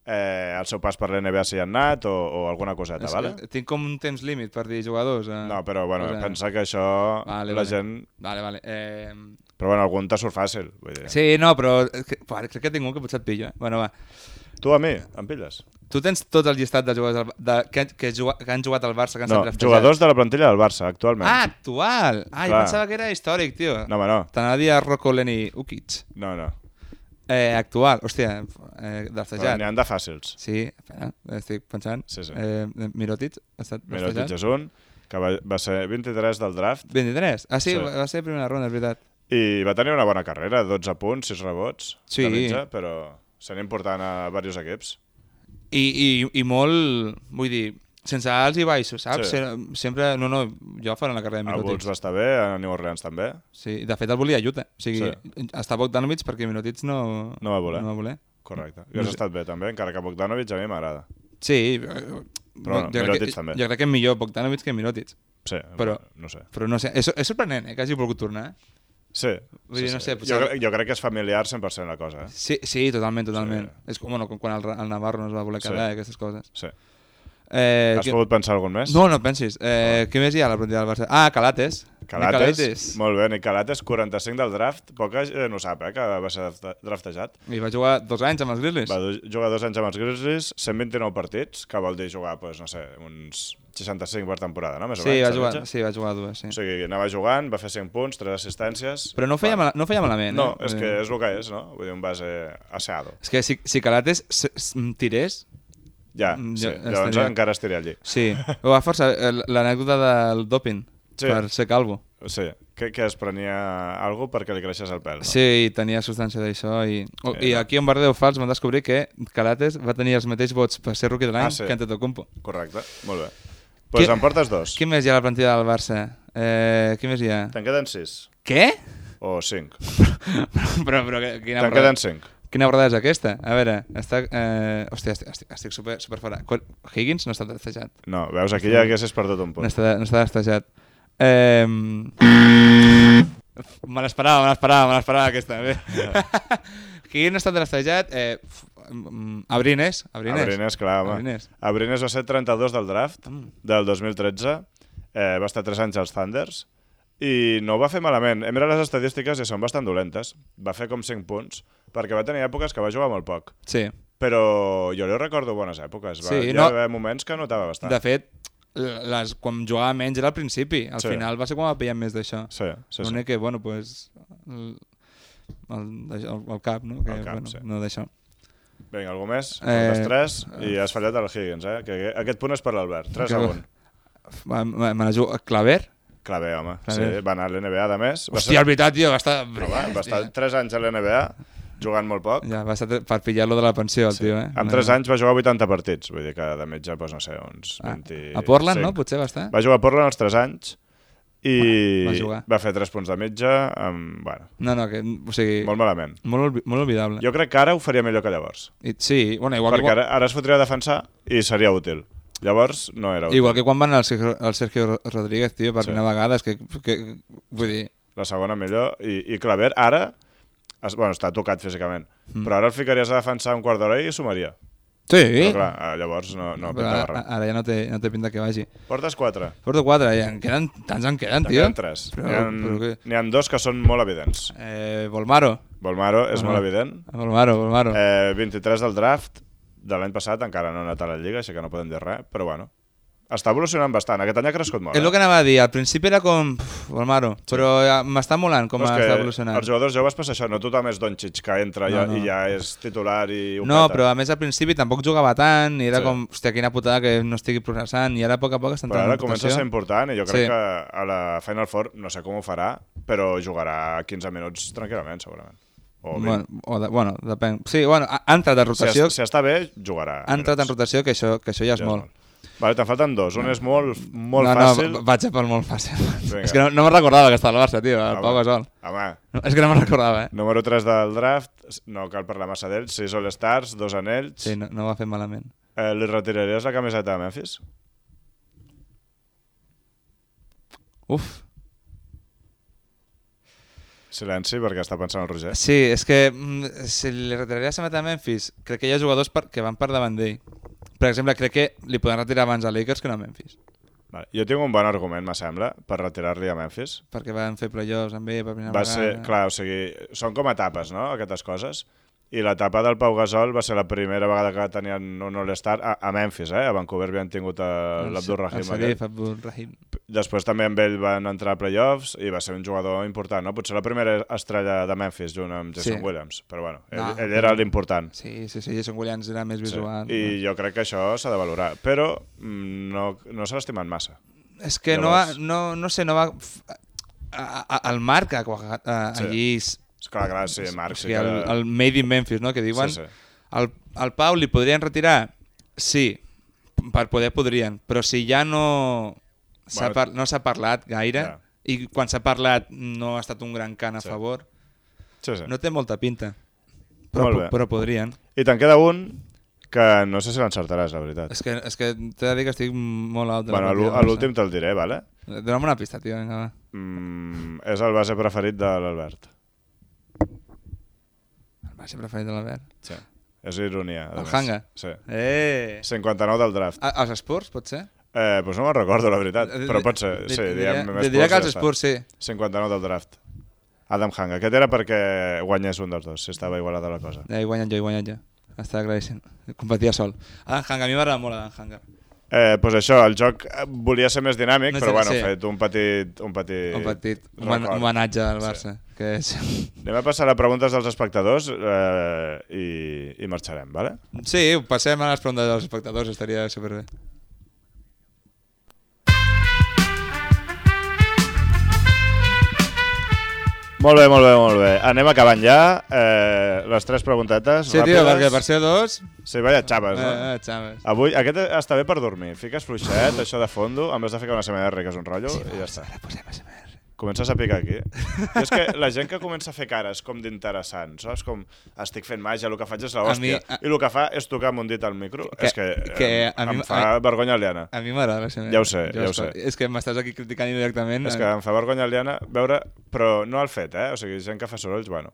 [SPEAKER 2] eh, el seu pas per la NBA si hi han anat o, o alguna coseta,
[SPEAKER 3] És-
[SPEAKER 2] vale?
[SPEAKER 3] eh, Tinc com un temps límit per dir jugadors. Eh?
[SPEAKER 2] No, però bueno,
[SPEAKER 3] Cosa-
[SPEAKER 2] pensa que això
[SPEAKER 3] Vale,
[SPEAKER 2] la
[SPEAKER 3] vale.
[SPEAKER 2] gent...
[SPEAKER 3] Vale, vale. Eh...
[SPEAKER 2] Però bueno, algun t'ha surt fàcil. Vull dir.
[SPEAKER 3] Sí, no, però és que, pare, crec que tinc un que potser et pillo. Eh? Bueno, va.
[SPEAKER 2] Tu a mi, em pilles?
[SPEAKER 3] Tu tens tot el llistat de jugadors del, de, que, que, juga, que han jugat al Barça, que han
[SPEAKER 2] No,
[SPEAKER 3] estat draftejats.
[SPEAKER 2] jugadors de la plantilla del Barça, actualment.
[SPEAKER 3] Ah, actual! Ah, jo
[SPEAKER 2] Clar.
[SPEAKER 3] pensava que era històric, tio.
[SPEAKER 2] No, home, no.
[SPEAKER 3] T'anava a dir a Rocco Leni Ukic.
[SPEAKER 2] No, no.
[SPEAKER 3] Eh, actual, hòstia, eh,
[SPEAKER 2] Però
[SPEAKER 3] draftejat.
[SPEAKER 2] N'hi han de fàcils.
[SPEAKER 3] Sí, espera, estic pensant.
[SPEAKER 2] Sí, sí.
[SPEAKER 3] Eh, Mirotic ha estat
[SPEAKER 2] Mirotic
[SPEAKER 3] draftejat.
[SPEAKER 2] és un, que va, va ser 23 del draft,
[SPEAKER 3] 23. Ah, sí,
[SPEAKER 2] Sí.
[SPEAKER 3] sí, va va ser primera ronda, és veritat.
[SPEAKER 2] I va tenir una bona carrera, 12 punts, 6 rebots,
[SPEAKER 3] Sí.
[SPEAKER 2] de mitja, però serà important a diversos equips.
[SPEAKER 3] I, i, i molt, vull dir, sense alts i baixos, saps?
[SPEAKER 2] Sí.
[SPEAKER 3] Sí. Sempre, no, no, jo faré la carrera de
[SPEAKER 2] A Bulls
[SPEAKER 3] Minotits.
[SPEAKER 2] va estar bé, a New Orleans també.
[SPEAKER 3] Sí, de fet el volia Utah. O sigui,
[SPEAKER 2] Sí.
[SPEAKER 3] sí. està Bogdanovic perquè Minotits no...
[SPEAKER 2] No va voler.
[SPEAKER 3] No va voler.
[SPEAKER 2] Correcte. I has
[SPEAKER 3] sé.
[SPEAKER 2] estat bé també, encara que Bogdanovic a mi m'agrada.
[SPEAKER 3] Sí, eh,
[SPEAKER 2] Però
[SPEAKER 3] jo, crec
[SPEAKER 2] Mirotic
[SPEAKER 3] que,
[SPEAKER 2] també.
[SPEAKER 3] jo crec que és millor Bogdanovic que Minotits.
[SPEAKER 2] Sí,
[SPEAKER 3] Però-
[SPEAKER 2] no sé.
[SPEAKER 3] Però no sé, és, és sorprenent eh, que hagi volgut tornar. eh?
[SPEAKER 2] Sí,
[SPEAKER 3] Vull dir, no sé,
[SPEAKER 2] jo,
[SPEAKER 3] potser-
[SPEAKER 2] cre- jo crec que és familiar 100% la cosa. Eh?
[SPEAKER 3] Sí, sí totalment, totalment. Sí. És com, bueno, com quan el, Ra- el Navarro no es va voler
[SPEAKER 2] Sí.
[SPEAKER 3] quedar, sí. aquestes coses.
[SPEAKER 2] Sí.
[SPEAKER 3] Eh,
[SPEAKER 2] Has pogut pensar algun més?
[SPEAKER 3] No, no pensis. Eh, què més hi ha a la plantilla del Barça? Ah, Calates.
[SPEAKER 2] Calates.
[SPEAKER 3] Nicolates.
[SPEAKER 2] Molt bé, Nicolates, 45 del draft. Poca gent ho sap, eh, que va ser drafte- draftejat.
[SPEAKER 3] I va jugar dos anys amb els Grizzlies.
[SPEAKER 2] Va du- jugar dos anys amb els Grizzlies, 129 partits, que vol dir jugar, doncs, no sé, uns 65 per temporada, no? Més o
[SPEAKER 3] sí,
[SPEAKER 2] menys,
[SPEAKER 3] va
[SPEAKER 2] setze,
[SPEAKER 3] jugar,
[SPEAKER 2] setze.
[SPEAKER 3] sí, va jugar dues, sí.
[SPEAKER 2] O sigui, anava jugant, va fer 5 punts, 3 assistències...
[SPEAKER 3] Però no feia,
[SPEAKER 2] Va.
[SPEAKER 3] mal, no feia malament.
[SPEAKER 2] No,
[SPEAKER 3] eh?
[SPEAKER 2] és
[SPEAKER 3] Vull
[SPEAKER 2] que
[SPEAKER 3] dir-
[SPEAKER 2] és el que és, no? Vull dir, un base aseado.
[SPEAKER 3] És que si, si Calates s- s- m- tirés,
[SPEAKER 2] Ja,
[SPEAKER 3] Mm,
[SPEAKER 2] sí.
[SPEAKER 3] ja- ja
[SPEAKER 2] Llavors
[SPEAKER 3] estaria.
[SPEAKER 2] encara estiré allí.
[SPEAKER 3] sí. O a força, el- l'anècdota del doping
[SPEAKER 2] Sí.
[SPEAKER 3] per ser calvo.
[SPEAKER 2] Sí, que, que es prenia algo perquè li creixés el pèl, no?
[SPEAKER 3] Sí, i tenia substància d'això. I, o-
[SPEAKER 2] Sí.
[SPEAKER 3] I aquí en Bardeu Fals van descobrir que Calates va tenir els mateixos vots per ser rookie de l'any
[SPEAKER 2] Ah, sí.
[SPEAKER 3] que Antetokounmpo.
[SPEAKER 2] Correcte, molt bé. Doncs pues
[SPEAKER 3] Qui-
[SPEAKER 2] en portes dos.
[SPEAKER 3] Qui més hi ha a la plantilla del Barça? Eh, qui més hi ha?
[SPEAKER 2] Te'n queden 6
[SPEAKER 3] Què?
[SPEAKER 2] o 5.
[SPEAKER 3] però, però, que- quina,
[SPEAKER 2] Te'n
[SPEAKER 3] borrada,
[SPEAKER 2] queden 5.
[SPEAKER 3] quina borrada és aquesta? A veure, està... Eh, hòstia, estic, estic, estic super, super fora. Quan- Higgins no està testejat.
[SPEAKER 2] No, veus, aquí ja haguessis perdut un
[SPEAKER 3] No
[SPEAKER 2] punt.
[SPEAKER 3] està, no està testejat. Eh, me l'esperava, me l'esperava, me l'esperava aquesta. Bé. Higgins no està testejat. Eh, f- mm, Abrines. Abrines.
[SPEAKER 2] Abrines, clar, home. Abrines.
[SPEAKER 3] Abrines.
[SPEAKER 2] Abrines va ser 32 del draft
[SPEAKER 3] Mm.
[SPEAKER 2] del 2013. Eh, va estar 3 anys als Thunders i no ho va fer malament. Hem mirat les estadístiques i són bastant dolentes. Va fer com 5 punts perquè va tenir èpoques que va jugar molt poc.
[SPEAKER 3] Sí.
[SPEAKER 2] Però jo li recordo bones èpoques. Va,
[SPEAKER 3] Sí,
[SPEAKER 2] hi va
[SPEAKER 3] no-
[SPEAKER 2] haver moments que notava bastant.
[SPEAKER 3] De fet, l- les, quan jugava menys era al principi. Al
[SPEAKER 2] Sí.
[SPEAKER 3] sí. final va ser quan va pillar més d'això.
[SPEAKER 2] Sí, sí, sí.
[SPEAKER 3] L'únic que, bueno, pues, el, el, el, el cap, no? Que,
[SPEAKER 2] El cap,
[SPEAKER 3] bueno,
[SPEAKER 2] sí.
[SPEAKER 3] No d'això.
[SPEAKER 2] Vinga, algú més?
[SPEAKER 3] Eh,
[SPEAKER 2] Eh... tres i has fallat el Higgins, eh? Que aquest punt és per l'Albert. 3 a
[SPEAKER 3] Que-
[SPEAKER 2] 1.
[SPEAKER 3] Va- Me me la jugo... eh, Claver?
[SPEAKER 2] Clavé, home.
[SPEAKER 3] Clavé.
[SPEAKER 2] Sí, va anar a l'NBA, de més. Va
[SPEAKER 3] Hòstia, la veritat, tio, va estar...
[SPEAKER 2] No, va, va estar 3 anys a l'NBA jugant molt poc.
[SPEAKER 3] Ja, va estar tre- per pillar-lo de la pensió, el
[SPEAKER 2] Sí.
[SPEAKER 3] tio, eh?
[SPEAKER 2] Amb 3 anys va jugar 80 partits, vull dir que de mitja, doncs, no sé, uns
[SPEAKER 3] Ah,
[SPEAKER 2] 20...
[SPEAKER 3] A Portland, no? Pues Potser va estar?
[SPEAKER 2] Va jugar a Portland als 3 anys i
[SPEAKER 3] Va, va jugar.
[SPEAKER 2] va fer 3 punts de mitja, amb, bueno,
[SPEAKER 3] No, no, que, o sigui...
[SPEAKER 2] molt malament.
[SPEAKER 3] Molt, olvi- molt olvidable.
[SPEAKER 2] Jo crec que ara ho faria millor que llavors,
[SPEAKER 3] I, sí, bueno, igual que,
[SPEAKER 2] perquè
[SPEAKER 3] quan,
[SPEAKER 2] ara, ara es fotria a defensar i seria útil. Llavors no era útil.
[SPEAKER 3] igual que quan van al Sergio, al Sergio Ro- Rodríguez, tio, per
[SPEAKER 2] Sí.
[SPEAKER 3] sí. anar a vegades, que, que, pues, vull dir,
[SPEAKER 2] La segona millor, i, i Claver ara... Es, bueno, està tocat físicament, mm. però ara el ficaries a defensar un quart d'hora i sumaria.
[SPEAKER 3] Sí. Ah,
[SPEAKER 2] Però clar, eh, llavors no, no
[SPEAKER 3] Però
[SPEAKER 2] pintava
[SPEAKER 3] ara,
[SPEAKER 2] res.
[SPEAKER 3] ara ja no té, no té pinta que vagi.
[SPEAKER 2] Portes 4.
[SPEAKER 3] Porto 4, ja en queden, tants en queden,
[SPEAKER 2] N'hi
[SPEAKER 3] tio.
[SPEAKER 2] ha tres.
[SPEAKER 3] Però,
[SPEAKER 2] N'hi han-
[SPEAKER 3] però què?
[SPEAKER 2] N'hi ha dos que són molt evidents.
[SPEAKER 3] Eh, Volmaro.
[SPEAKER 2] Volmaro és
[SPEAKER 3] Ah.
[SPEAKER 2] molt evident.
[SPEAKER 3] Volmaro, Volmaro. Eh.
[SPEAKER 2] Eh, 23 del draft de l'any passat, encara no ha anat a la Lliga, així que no podem dir res, però bueno. Està evolucionant bastant. Aquest any ha crescut molt. eh?
[SPEAKER 3] És el que anava a dir, al principi era com pff, Volmaro, però ja m'està molant com
[SPEAKER 2] No, és
[SPEAKER 3] no,
[SPEAKER 2] que
[SPEAKER 3] està evolucionant.
[SPEAKER 2] Els jugadors joves passa això, no tothom és Doncic que entra no,
[SPEAKER 3] No,
[SPEAKER 2] ja,
[SPEAKER 3] no.
[SPEAKER 2] i ja és titular i ho
[SPEAKER 3] No,
[SPEAKER 2] peta.
[SPEAKER 3] però a més al principi tampoc jugava tant i era
[SPEAKER 2] Sí.
[SPEAKER 3] sí. com, hòstia, quina putada que no estigui progressant i ara a poc a poc està
[SPEAKER 2] Però
[SPEAKER 3] entrant
[SPEAKER 2] ara
[SPEAKER 3] en
[SPEAKER 2] comença a ser
[SPEAKER 3] rotació.
[SPEAKER 2] important i jo crec
[SPEAKER 3] Sí.
[SPEAKER 2] que a la Final Four, no sé com ho farà, però jugarà 15 minuts tranquil·lament, segurament. O 20.
[SPEAKER 3] Bueno, o de, bueno, depèn. Sí, bueno, ha, ha entrat
[SPEAKER 2] si,
[SPEAKER 3] en rotació,
[SPEAKER 2] es, si està bé, jugarà.
[SPEAKER 3] ha entrat en
[SPEAKER 2] minuts.
[SPEAKER 3] rotació que això, que això ja és molt.
[SPEAKER 2] Vale, te'n falten dos. Un és molt, molt
[SPEAKER 3] no,
[SPEAKER 2] fàcil.
[SPEAKER 3] No, va- vaig a pel molt fàcil.
[SPEAKER 2] Vinga. Ah,
[SPEAKER 3] és que no, no me'n recordava que estava al Barça, tio,
[SPEAKER 2] Home,
[SPEAKER 3] el Pau Gasol.
[SPEAKER 2] Home,
[SPEAKER 3] No, és que no me'n recordava, eh?
[SPEAKER 2] número 3 del draft, no cal parlar massa d'ells, 6 All-Stars, dos anells.
[SPEAKER 3] Sí, no, no va fer malament.
[SPEAKER 2] Eh, li retiraries la camiseta a Memphis?
[SPEAKER 3] Uf.
[SPEAKER 2] Silenci, perquè està pensant el Roger.
[SPEAKER 3] Sí, és que mm, si li retiraria Samet a Memphis, crec que hi ha jugadors per, que van per davant d'ell. Per exemple, crec que li poden retirar abans a Lakers que no a Memphis.
[SPEAKER 2] Vale. Jo tinc un bon argument, me sembla, per retirar-li a Memphis.
[SPEAKER 3] Perquè van fer playoffs amb ell per primera
[SPEAKER 2] Va
[SPEAKER 3] vegada.
[SPEAKER 2] ser, clar, o sigui, són com etapes, no?, aquestes coses. I l'etapa del Pau Gasol va ser la primera vegada que tenien un All-Star a, a Memphis, eh? A Vancouver havien tingut a
[SPEAKER 3] El-
[SPEAKER 2] l'Abdur Rahim.
[SPEAKER 3] El
[SPEAKER 2] aquest.
[SPEAKER 3] Serif, Abdul Rahim.
[SPEAKER 2] Després també amb ell van entrar a playoffs i va ser un jugador important, no? Potser la primera estrella de Memphis junt amb Jason
[SPEAKER 3] Sí.
[SPEAKER 2] Williams, però bueno, ell,
[SPEAKER 3] No.
[SPEAKER 2] ell era l'important.
[SPEAKER 3] Sí, sí, sí, Jason Williams era més
[SPEAKER 2] Sí.
[SPEAKER 3] visual.
[SPEAKER 2] I jo crec que això s'ha de valorar, però mm, no, no se l'estimen massa.
[SPEAKER 3] És que
[SPEAKER 2] Llavors-
[SPEAKER 3] no, va, no, no sé, no va... f- A, a, el Marc a, Oaxaca- a,
[SPEAKER 2] Sí.
[SPEAKER 3] allí... s-
[SPEAKER 2] És clar, clar, sí, Marc,
[SPEAKER 3] o
[SPEAKER 2] sí
[SPEAKER 3] sigui,
[SPEAKER 2] que...
[SPEAKER 3] el, el Made in Memphis, no?, que diuen.
[SPEAKER 2] sí, sí.
[SPEAKER 3] El, el Pau li podrien retirar? Sí, per poder podrien, però si ja no s'ha
[SPEAKER 2] Bueno,
[SPEAKER 3] par no s'ha parlat gaire
[SPEAKER 2] ja.
[SPEAKER 3] i quan s'ha parlat no ha estat un gran cant a
[SPEAKER 2] Sí.
[SPEAKER 3] favor,
[SPEAKER 2] Sí, sí.
[SPEAKER 3] no té molta pinta. Però,
[SPEAKER 2] Molt
[SPEAKER 3] po-
[SPEAKER 2] bé.
[SPEAKER 3] però podrien.
[SPEAKER 2] I te'n queda un que no sé si l'encertaràs, la veritat.
[SPEAKER 3] És que, és que t'he de dir que estic molt alt de
[SPEAKER 2] Bueno, a l'ú- a l'últim te'l diré, vale?
[SPEAKER 3] Barça. Dóna'm una pista, tio. Vinga, va.
[SPEAKER 2] Mm, és el base preferit de l'Albert.
[SPEAKER 3] El base preferit de l'Albert.
[SPEAKER 2] Sí. És ironia. a
[SPEAKER 3] El
[SPEAKER 2] més.
[SPEAKER 3] Hanga.
[SPEAKER 2] Sí.
[SPEAKER 3] Eh!
[SPEAKER 2] 59 del draft.
[SPEAKER 3] A, als esports, potser?
[SPEAKER 2] Eh, doncs no me'n recordo, la veritat. Però pot ser, sí.
[SPEAKER 3] Eh, Diria,
[SPEAKER 2] diguem, més
[SPEAKER 3] diria que
[SPEAKER 2] Spurs,
[SPEAKER 3] els
[SPEAKER 2] ja està.
[SPEAKER 3] Spurs, sí.
[SPEAKER 2] 59 del draft. Adam Hang. Aquest era perquè guanyés un dels dos, si estava igualada la cosa.
[SPEAKER 3] Ja he guanyat jo, he guanyat jo. Està claríssim. Competia sol. Adam Hanga, a mi m'agrada molt Adam Hanga.
[SPEAKER 2] Eh, doncs això, el joc eh, volia ser més dinàmic,
[SPEAKER 3] No
[SPEAKER 2] però
[SPEAKER 3] sé,
[SPEAKER 2] bueno,
[SPEAKER 3] sí.
[SPEAKER 2] ha fet un petit... Un petit,
[SPEAKER 3] Un petit homen-
[SPEAKER 2] record.
[SPEAKER 3] homenatge al Barça. Que és...
[SPEAKER 2] Anem a passar a preguntes dels espectadors eh, i, i marxarem, vale?
[SPEAKER 3] Sí, passem a les preguntes dels espectadors, estaria superbé.
[SPEAKER 2] Molt bé, molt bé, molt bé. Anem acabant ja. Eh, les tres preguntetes
[SPEAKER 3] Sí, tio,
[SPEAKER 2] ràpides.
[SPEAKER 3] perquè per ser dos...
[SPEAKER 2] Sí, vaya xaves, no?
[SPEAKER 3] Eh, eh, xaves.
[SPEAKER 2] Avui, aquest està bé per dormir. Fiques fluixet, això de fondo, en vez de ficar una SMR, que és un rotllo, sí, i ja està.
[SPEAKER 3] Ara posem ASMR.
[SPEAKER 2] Comences a picar aquí. I és que la gent que comença a fer cares com d'interessant, saps? Com estic fent màgia, el que faig és la
[SPEAKER 3] A mi-
[SPEAKER 2] hòstia.
[SPEAKER 3] a-
[SPEAKER 2] I el que fa és tocar amb un dit al micro.
[SPEAKER 3] Que-
[SPEAKER 2] és que,
[SPEAKER 3] que
[SPEAKER 2] eh,
[SPEAKER 3] a mi-
[SPEAKER 2] em fa vergonya aliena.
[SPEAKER 3] A mi m'agrada l'ASMR.
[SPEAKER 2] Ja ho sé, ja ho
[SPEAKER 3] escolto.
[SPEAKER 2] sé.
[SPEAKER 3] És que m'estàs aquí criticant indirectament. eh?
[SPEAKER 2] És que em fa vergonya aliena veure... Però no el fet, eh? O sigui, gent que fa sorolls, bueno.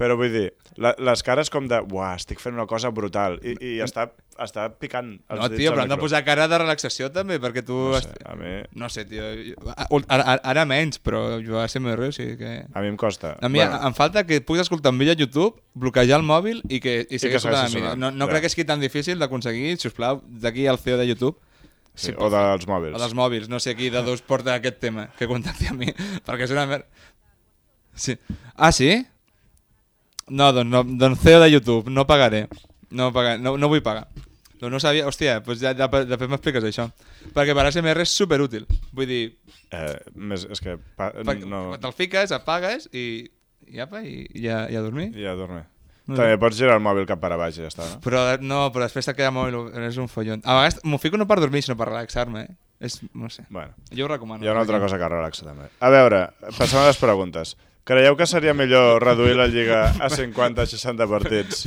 [SPEAKER 2] Però vull dir, la, les cares com de uah, estic fent una cosa brutal i, i està, està picant els
[SPEAKER 3] No,
[SPEAKER 2] dits
[SPEAKER 3] tio,
[SPEAKER 2] al
[SPEAKER 3] però han de
[SPEAKER 2] micro.
[SPEAKER 3] posar cara de relaxació també, perquè tu...
[SPEAKER 2] No
[SPEAKER 3] has-
[SPEAKER 2] sé, a mi,
[SPEAKER 3] No sé, tio. jo- a- ul- Ara, ara- ara menys, però jo a CMR, o sigui que...
[SPEAKER 2] a mi em costa.
[SPEAKER 3] A mi bueno. em falta que puguis escoltar un vídeo a YouTube, bloquejar el mòbil i que i
[SPEAKER 2] que segueixi
[SPEAKER 3] seguir escoltant el vídeo.
[SPEAKER 2] sonant,
[SPEAKER 3] No, no
[SPEAKER 2] ja.
[SPEAKER 3] crec que sigui tan difícil d'aconseguir, si us plau, d'aquí al CEO de YouTube.
[SPEAKER 2] sí, o dels mòbils.
[SPEAKER 3] O dels mòbils, no sé qui de dos porta aquest tema, que contacti a mi, perquè és una mer... Sí. Ah, sí? No, doncs, no, doncs CEO de YouTube, no pagaré. No, pagaré, no, no vull pagar. Doncs no pues sabia, hòstia, doncs ja, de, de fet m'expliques això. Perquè per ASMR és superútil. Vull dir,
[SPEAKER 2] Eh, més, és que... Pa,
[SPEAKER 3] pa,
[SPEAKER 2] no,
[SPEAKER 3] no. te'l fiques, apagues i, i apa, i, i, a, i a dormir.
[SPEAKER 2] ja dormir.
[SPEAKER 3] No,
[SPEAKER 2] També pots girar el mòbil cap per a baix i ja està, no?
[SPEAKER 3] Però no, però després te queda molt... És un follon. A vegades m'ho fico no per dormir, sinó per relaxar-me. Eh? És, no sé.
[SPEAKER 2] Bueno,
[SPEAKER 3] Jo ho recomano.
[SPEAKER 2] hi ha una altra cosa que relaxa, també. A veure, passem a les preguntes. Creieu que seria millor reduir la Lliga a 50-60 partits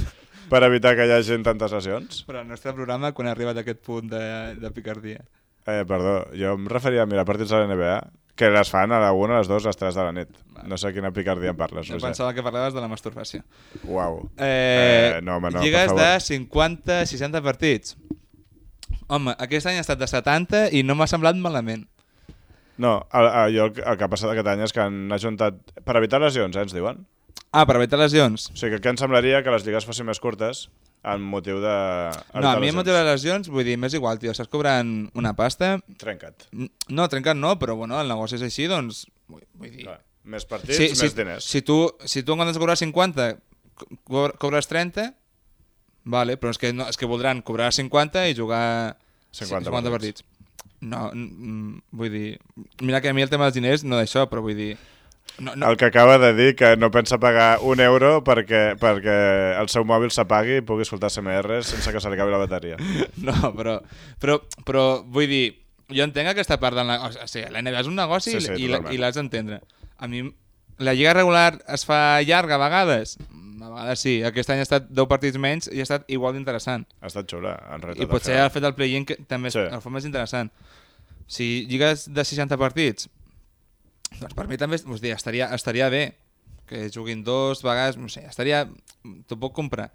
[SPEAKER 2] per evitar que hi hagi tantes lesions?
[SPEAKER 3] Però el nostre programa, quan arriba a aquest punt de, de picardia...
[SPEAKER 2] Eh, perdó, jo em referia a mirar partits de la NBA, que les fan a la 1, a les 2, a les 3 de la nit. No Doncs sé quina picardia en parles,
[SPEAKER 3] Jo
[SPEAKER 2] Roger.
[SPEAKER 3] pensava que parlaves de la masturbació.
[SPEAKER 2] Uau.
[SPEAKER 3] Eh,
[SPEAKER 2] Eh, no, home, no, per
[SPEAKER 3] lligues
[SPEAKER 2] favor.
[SPEAKER 3] de 50-60 partits. Home, aquest any ha estat de 70 i no m'ha semblat malament.
[SPEAKER 2] No, el, el, jo el, que- el que ha passat aquest any és que han ajuntat... Per evitar lesions, eh, ens diuen?
[SPEAKER 3] Ah, per evitar lesions.
[SPEAKER 2] O sigui, que què em semblaria que les lligues fossin més curtes amb motiu de...
[SPEAKER 3] No, a mi em
[SPEAKER 2] lesions?
[SPEAKER 3] motiva les lesions, vull dir, m'és igual, tio, estàs cobrant una pasta...
[SPEAKER 2] Trenca't.
[SPEAKER 3] No, trencat no, però bueno, el negoci és així, doncs... Vull, vull dir,
[SPEAKER 2] Clar. Més partits, sí, més
[SPEAKER 3] si,
[SPEAKER 2] diners.
[SPEAKER 3] Si tu, si tu en comptes de cobrar 50, co- co- cobres 30, vale, però és que, no, és que voldran cobrar 50 i jugar
[SPEAKER 2] 50 partits.
[SPEAKER 3] partits. No, n- mm, vull dir... Mira que a mi el tema dels diners no d'això, però vull dir... No, no,
[SPEAKER 2] El que acaba de dir que no pensa pagar un euro perquè, perquè el seu mòbil s'apagui i pugui escoltar CMR sense que se li acabi la bateria.
[SPEAKER 3] no però, però, però vull dir, jo entenc aquesta part del negoci. O sigui, la NBA és un negoci
[SPEAKER 2] Sí,
[SPEAKER 3] sí,
[SPEAKER 2] sí,
[SPEAKER 3] sí, i, la-
[SPEAKER 2] totalment.
[SPEAKER 3] i l'has d'entendre. A mi la lliga regular es fa llarga a vegades? Mm, A vegades sí. Aquest any ha estat 10 partits menys i ha estat igual d'interessant.
[SPEAKER 2] Ha estat xula, en realitat.
[SPEAKER 3] I potser el fet del play-in que també
[SPEAKER 2] Sí.
[SPEAKER 3] sí. el fa més interessant. Si lligues de 60 partits, doncs per mi també us dir, estaria, estaria bé que juguin dos vegades, no sé, estaria... T'ho puc comprar,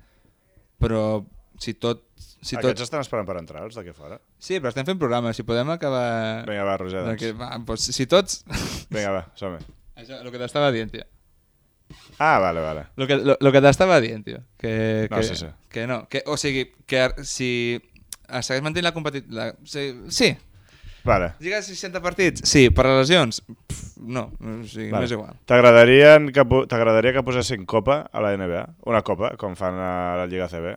[SPEAKER 3] però si tot... Si tot...
[SPEAKER 2] Aquests estan esperant per entrar, els d'aquí fora.
[SPEAKER 3] Sí, però estem fent programes, si podem acabar...
[SPEAKER 2] Vinga, va, Roger, doncs.
[SPEAKER 3] Perquè, va, doncs, si tots...
[SPEAKER 2] Vinga, va, som -hi.
[SPEAKER 3] Això, el que t'estava dient, tio.
[SPEAKER 2] Ah, vale, vale.
[SPEAKER 3] Lo que, lo, lo que t'estava dient, tio. Que,
[SPEAKER 2] No,
[SPEAKER 3] que,
[SPEAKER 2] sí, sí.
[SPEAKER 3] que no. Que, o sigui, que ar- si es segueix mantenint la competitivitat... Sí, sí,
[SPEAKER 2] Vale.
[SPEAKER 3] Lligues 60 partits? Sí, per a lesions? Pff, no, o sigui,
[SPEAKER 2] Vale.
[SPEAKER 3] m'és igual.
[SPEAKER 2] T'agradarien que po- T'agradaria que posessin copa a la NBA? Una copa, com fan a la Lliga CB?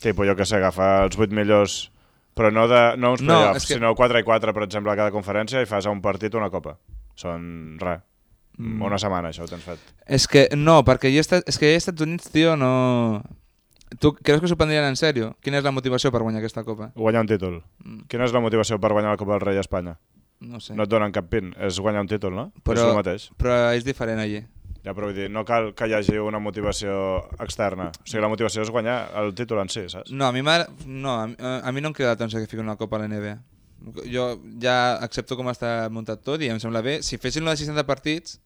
[SPEAKER 2] Tipo, jo que sé, agafar els 8 millors, però no, de, no uns
[SPEAKER 3] No,
[SPEAKER 2] playoffs,
[SPEAKER 3] és que-
[SPEAKER 2] sinó 4 i 4, per exemple, a cada conferència, i fas a un partit una copa. Són res. Mm. Una setmana, això ho tens fet.
[SPEAKER 3] És que no, perquè jo he estat, és que als Estats Units, tio, no... Tu creus que s'ho prendrien en sèrio? Quina és la motivació per guanyar aquesta copa?
[SPEAKER 2] Guanyar un títol. Mm. Quina és la motivació per guanyar la Copa del Rei a Espanya?
[SPEAKER 3] No sé.
[SPEAKER 2] No et donen cap pin, és guanyar un títol, no? És el mateix.
[SPEAKER 3] Però és diferent allí.
[SPEAKER 2] Ja, però vull dir, no cal que hi hagi una motivació externa. O sigui, la motivació és guanyar el títol en si, saps?
[SPEAKER 3] No, a mi, m'agra- no, a, mi- a mi no em crida l'atenció que fiqui una copa a la NBA. Jo ja accepto com està muntat tot i em sembla bé. Si fessin una de 60 partits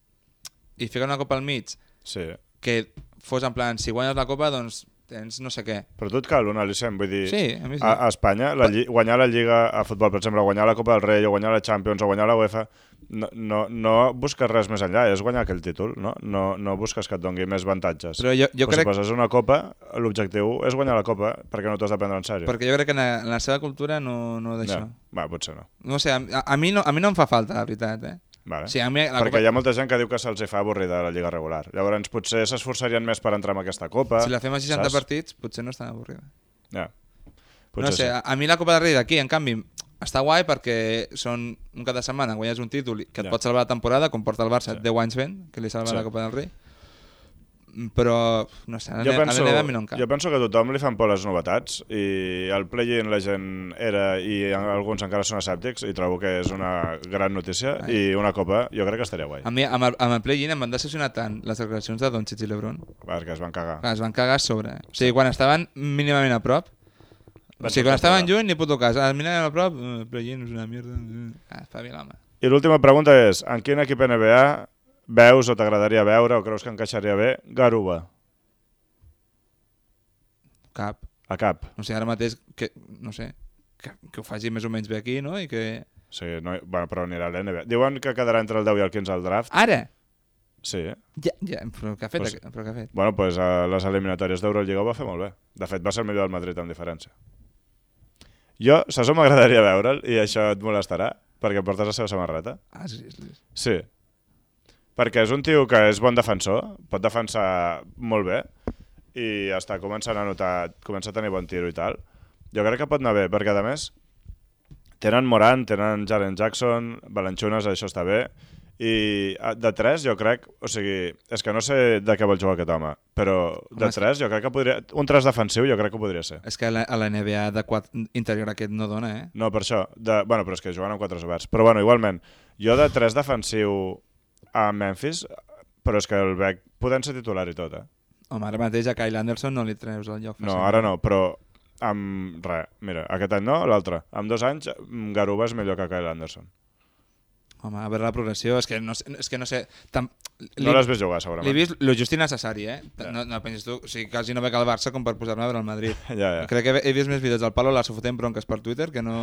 [SPEAKER 3] i fiquen una copa al mig
[SPEAKER 2] Sí.
[SPEAKER 3] que fos en plan, si guanyes la copa, doncs tens no sé què.
[SPEAKER 2] Però tot cal un al·licent, vull dir...
[SPEAKER 3] Sí, a mi sí.
[SPEAKER 2] A, a Espanya, la lli guanyar la Lliga a futbol, per exemple, guanyar la Copa del Rei, o guanyar la Champions, o guanyar la UEFA, no, no, no busques res més enllà, és guanyar aquell títol, no? No, no busques que et doni més avantatges.
[SPEAKER 3] Però jo- jo
[SPEAKER 2] Però
[SPEAKER 3] crec-
[SPEAKER 2] si poses una copa, l'objectiu és guanyar la copa, perquè no t'has de prendre en sèrio.
[SPEAKER 3] Perquè jo crec que en la, en la seva cultura no, no d'això.
[SPEAKER 2] No. Va, potser no.
[SPEAKER 3] No. no sé, a, a, mi no, a mi no em fa falta, la veritat, eh?
[SPEAKER 2] Vale.
[SPEAKER 3] Sí, a mi la
[SPEAKER 2] perquè
[SPEAKER 3] copa-
[SPEAKER 2] hi ha molta gent que diu que se'ls hi fa avorrida la Lliga regular. Llavors, potser s'esforçarien més per entrar en aquesta copa.
[SPEAKER 3] Si la fem a 60
[SPEAKER 2] saps?
[SPEAKER 3] partits, potser no és tan avorrida.
[SPEAKER 2] Ja.
[SPEAKER 3] Potser no sé,
[SPEAKER 2] sí.
[SPEAKER 3] a, a mi la Copa del Rei d'aquí, en canvi, està guai perquè són un cada setmana guanyes un títol i- que
[SPEAKER 2] Ja.
[SPEAKER 3] et pot salvar la temporada, com porta el Barça
[SPEAKER 2] Sí.
[SPEAKER 3] 10 anys ben, que li salva
[SPEAKER 2] Sí.
[SPEAKER 3] la Copa del Rei. Mm, Però, no sé, a la, ne- a la neve a mi no em cap.
[SPEAKER 2] jo penso que a tothom li fan por les novetats i el play-in la gent era i alguns encara són escèptics i trobo que és una gran notícia i una copa jo crec que estaria guai
[SPEAKER 3] A mi, amb el, amb el play-in em van decepcionar tant les declaracions de Don i Lebron.
[SPEAKER 2] perquè es van cagar
[SPEAKER 3] Clar, es van cagar a sobre. O sigui, quan estaven mínimament a prop, o
[SPEAKER 2] Van
[SPEAKER 3] sigui,
[SPEAKER 2] sortir
[SPEAKER 3] quan
[SPEAKER 2] a
[SPEAKER 3] estaven
[SPEAKER 2] fora.
[SPEAKER 3] lluny, ni puto cas. Ara, mínimament a prop, eh, play-in és una mierda. eh. Ah, espavila, home.
[SPEAKER 2] i l'última pregunta és en quin equip NBA veus o t'agradaria veure o creus que encaixaria bé Garuba?
[SPEAKER 3] Cap.
[SPEAKER 2] A cap
[SPEAKER 3] No sé, ara mateix, que, no sé, que, que ho faci més o menys bé aquí, no? I que...
[SPEAKER 2] sí, no, bueno, però anirà a l'NBA diuen que quedarà entre el 10 i el 15 al draft
[SPEAKER 3] Ara!
[SPEAKER 2] sí
[SPEAKER 3] Ja, ja, però què ha fet?
[SPEAKER 2] Pues-
[SPEAKER 3] Pues... Però què ha fet?
[SPEAKER 2] Bueno, pues a les eliminatòries d'Eurolliga ho va fer molt bé. De fet, va ser el millor del Madrid amb diferència. Jo, saps on m'agradaria veure'l? I això et molestarà? Perquè portes la seva samarreta?
[SPEAKER 3] Ah, sí, sí, sí.
[SPEAKER 2] Sí. Perquè és un tio que és bon defensor, pot defensar molt bé, i està començant a notar, comença a tenir bon tiro i tal. Jo crec que pot anar bé, perquè a més tenen Moran, tenen Jaren Jackson, Balanchunas, això està bé, i ah, de tres jo crec, o sigui, és que no sé de què vol jugar aquest home, però de
[SPEAKER 3] Home, és-
[SPEAKER 2] tres jo crec que podria, un tres defensiu jo crec que ho podria ser.
[SPEAKER 3] És que a la, a la NBA de quart interior aquest no dona, eh?
[SPEAKER 2] No, per això. De... Bueno, però és que juguen amb quatre oberts. Però bueno, igualment, jo de 3 defensiu a Memphis, però és que el Beck podent ser titular i tot, eh?
[SPEAKER 3] Home, ara mateix a Kyle Anderson no li treus el lloc.
[SPEAKER 2] No, ara no, però amb... Re, mira, aquest any no, l'altre. Amb dos anys, mm, Garuba és millor que Kyle Anderson.
[SPEAKER 3] Home, a veure la progressió, és que no sé... És que no sé tam...
[SPEAKER 2] No l'has vist jugar,
[SPEAKER 3] L'he
[SPEAKER 2] segurament.
[SPEAKER 3] vist lo just i necessari, eh? No, no pensis tu, o sigui, quasi no veig el Barça com per posar-me a veure el Madrid.
[SPEAKER 2] Ja, ja.
[SPEAKER 3] Crec que he vist més vídeos del Palo a la Sofotent Bronques per Twitter que no,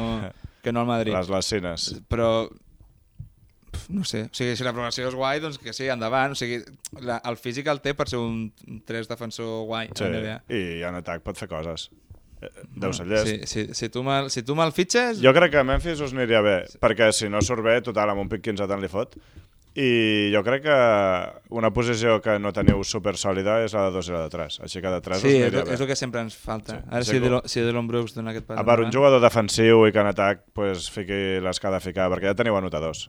[SPEAKER 3] que no al Madrid.
[SPEAKER 2] Les lacines.
[SPEAKER 3] Però, pf, no sé, o sigui, si la progressió és guai, doncs que sí, endavant. O sigui, la, el físic el té per ser un 3 defensor guai sí.
[SPEAKER 2] Sí.
[SPEAKER 3] a la NBA.
[SPEAKER 2] I en atac pot fer coses. Eh, Deu ser llest.
[SPEAKER 3] Si, si, si, tu me'l si tu me'l fitxes...
[SPEAKER 2] Jo crec que a Memphis us aniria bé, perquè si no surt bé, total, amb un pic 15 tant li fot. I jo crec que una posició que no teniu super sòlida és la de 2 i la de 3. Així que de 3 us
[SPEAKER 3] Sí, és,
[SPEAKER 2] aniria
[SPEAKER 3] és el
[SPEAKER 2] bé.
[SPEAKER 3] que eh. sempre ens falta.
[SPEAKER 2] Sí,
[SPEAKER 3] Sí, Ara,
[SPEAKER 2] sí,
[SPEAKER 3] si,
[SPEAKER 2] com-
[SPEAKER 3] Dylan- si Dylan Brooks dona aquest pas...
[SPEAKER 2] A part, un
[SPEAKER 3] endavant-
[SPEAKER 2] jugador defensiu i que en atac pues, fiqui les que ha de ficar, perquè ja teniu anotadors.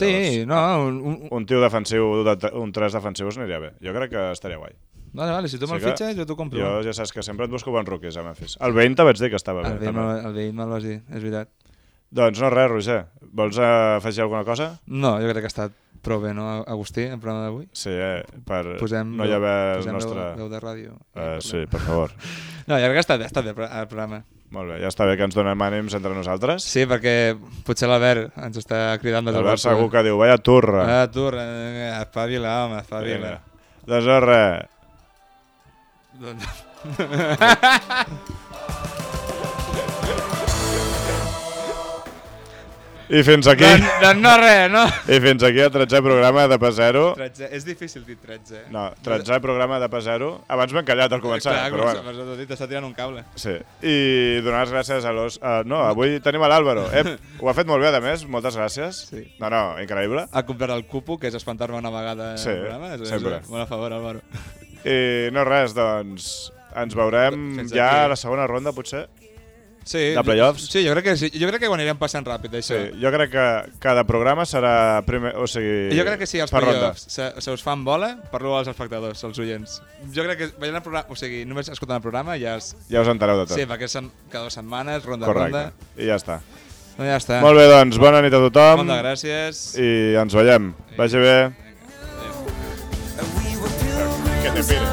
[SPEAKER 3] Sí, no, un, un, un...
[SPEAKER 2] Un tio defensiu, de, tre- un 3 defensiu us aniria bé. Jo crec que estaria guai.
[SPEAKER 3] Vale, vale, si tu me'l
[SPEAKER 2] que
[SPEAKER 3] fitxes, jo t'ho compro.
[SPEAKER 2] Jo ja saps que sempre et busco bons rookies a Memphis. El Bain te vaig dir que estava
[SPEAKER 3] El
[SPEAKER 2] bé.
[SPEAKER 3] vell
[SPEAKER 2] també.
[SPEAKER 3] me'l el vell me'l vas dir, és veritat.
[SPEAKER 2] Doncs no res, Roger. Vols eh, afegir alguna cosa?
[SPEAKER 3] No, jo crec que ha estat prou bé, no, Agustí, en programa d'avui?
[SPEAKER 2] Sí, eh? Per
[SPEAKER 3] Posem
[SPEAKER 2] no hi haver el
[SPEAKER 3] posem
[SPEAKER 2] nostre...
[SPEAKER 3] Veu, veu de ràdio.
[SPEAKER 2] Eh, sí, per favor.
[SPEAKER 3] No, jo crec que ha estat bé, ha estat bé el programa.
[SPEAKER 2] Molt bé, ja està bé que ens donem ànims entre nosaltres.
[SPEAKER 3] Sí, perquè potser l'Albert ens està cridant des del
[SPEAKER 2] Albert
[SPEAKER 3] balcó.
[SPEAKER 2] segur que diu, vaya turra.
[SPEAKER 3] Ah, eh. tu, eh, espavila, home, espavila.
[SPEAKER 2] Vinga. Doncs no, res.
[SPEAKER 3] Doncs...
[SPEAKER 2] I fins aquí.
[SPEAKER 3] Doncs, doncs no res, no?
[SPEAKER 2] I fins aquí el 13è programa de Pas 0.
[SPEAKER 3] 13, és difícil dir 13. eh?
[SPEAKER 2] No, 13è programa de Pas 0. Abans m'he encallat al començar,
[SPEAKER 3] Clar,
[SPEAKER 2] però bueno.
[SPEAKER 3] comença, bueno. t'està tirant un cable.
[SPEAKER 2] Sí. I donar les gràcies a l'Os... Uh, no, avui tenim a l'Àlvaro. Ep, ho ha fet molt bé, a més. Moltes gràcies.
[SPEAKER 3] Sí.
[SPEAKER 2] No, no, increïble.
[SPEAKER 3] Ha comprat el cupo, que és espantar-me una vegada
[SPEAKER 2] Sí,
[SPEAKER 3] al programa. És,
[SPEAKER 2] sempre.
[SPEAKER 3] És, bona favor, Álvaro.
[SPEAKER 2] I no res, doncs... Ens veurem
[SPEAKER 3] Fins
[SPEAKER 2] ja
[SPEAKER 3] aquí.
[SPEAKER 2] a la segona ronda, potser.
[SPEAKER 3] Sí,
[SPEAKER 2] De playoffs?
[SPEAKER 3] Sí, jo crec que, sí. jo crec que ho anirem passant ràpid, això.
[SPEAKER 2] Sí, jo crec que cada programa serà primer, o sigui,
[SPEAKER 3] Jo crec que sí, els
[SPEAKER 2] per ronda.
[SPEAKER 3] playoffs se, se us fan bola, parlo als espectadors, als oients. Jo crec que veient el programa, o sigui, només escoltant el programa ja es...
[SPEAKER 2] Ja us entereu de tot.
[SPEAKER 3] Sí, perquè són cada dues setmanes, ronda
[SPEAKER 2] Correcte.
[SPEAKER 3] a ronda.
[SPEAKER 2] I ja està.
[SPEAKER 3] No, ja està.
[SPEAKER 2] Molt bé, doncs, bona nit a tothom.
[SPEAKER 3] Moltes gràcies.
[SPEAKER 2] I ens veiem. Vagi bé. Que te pires.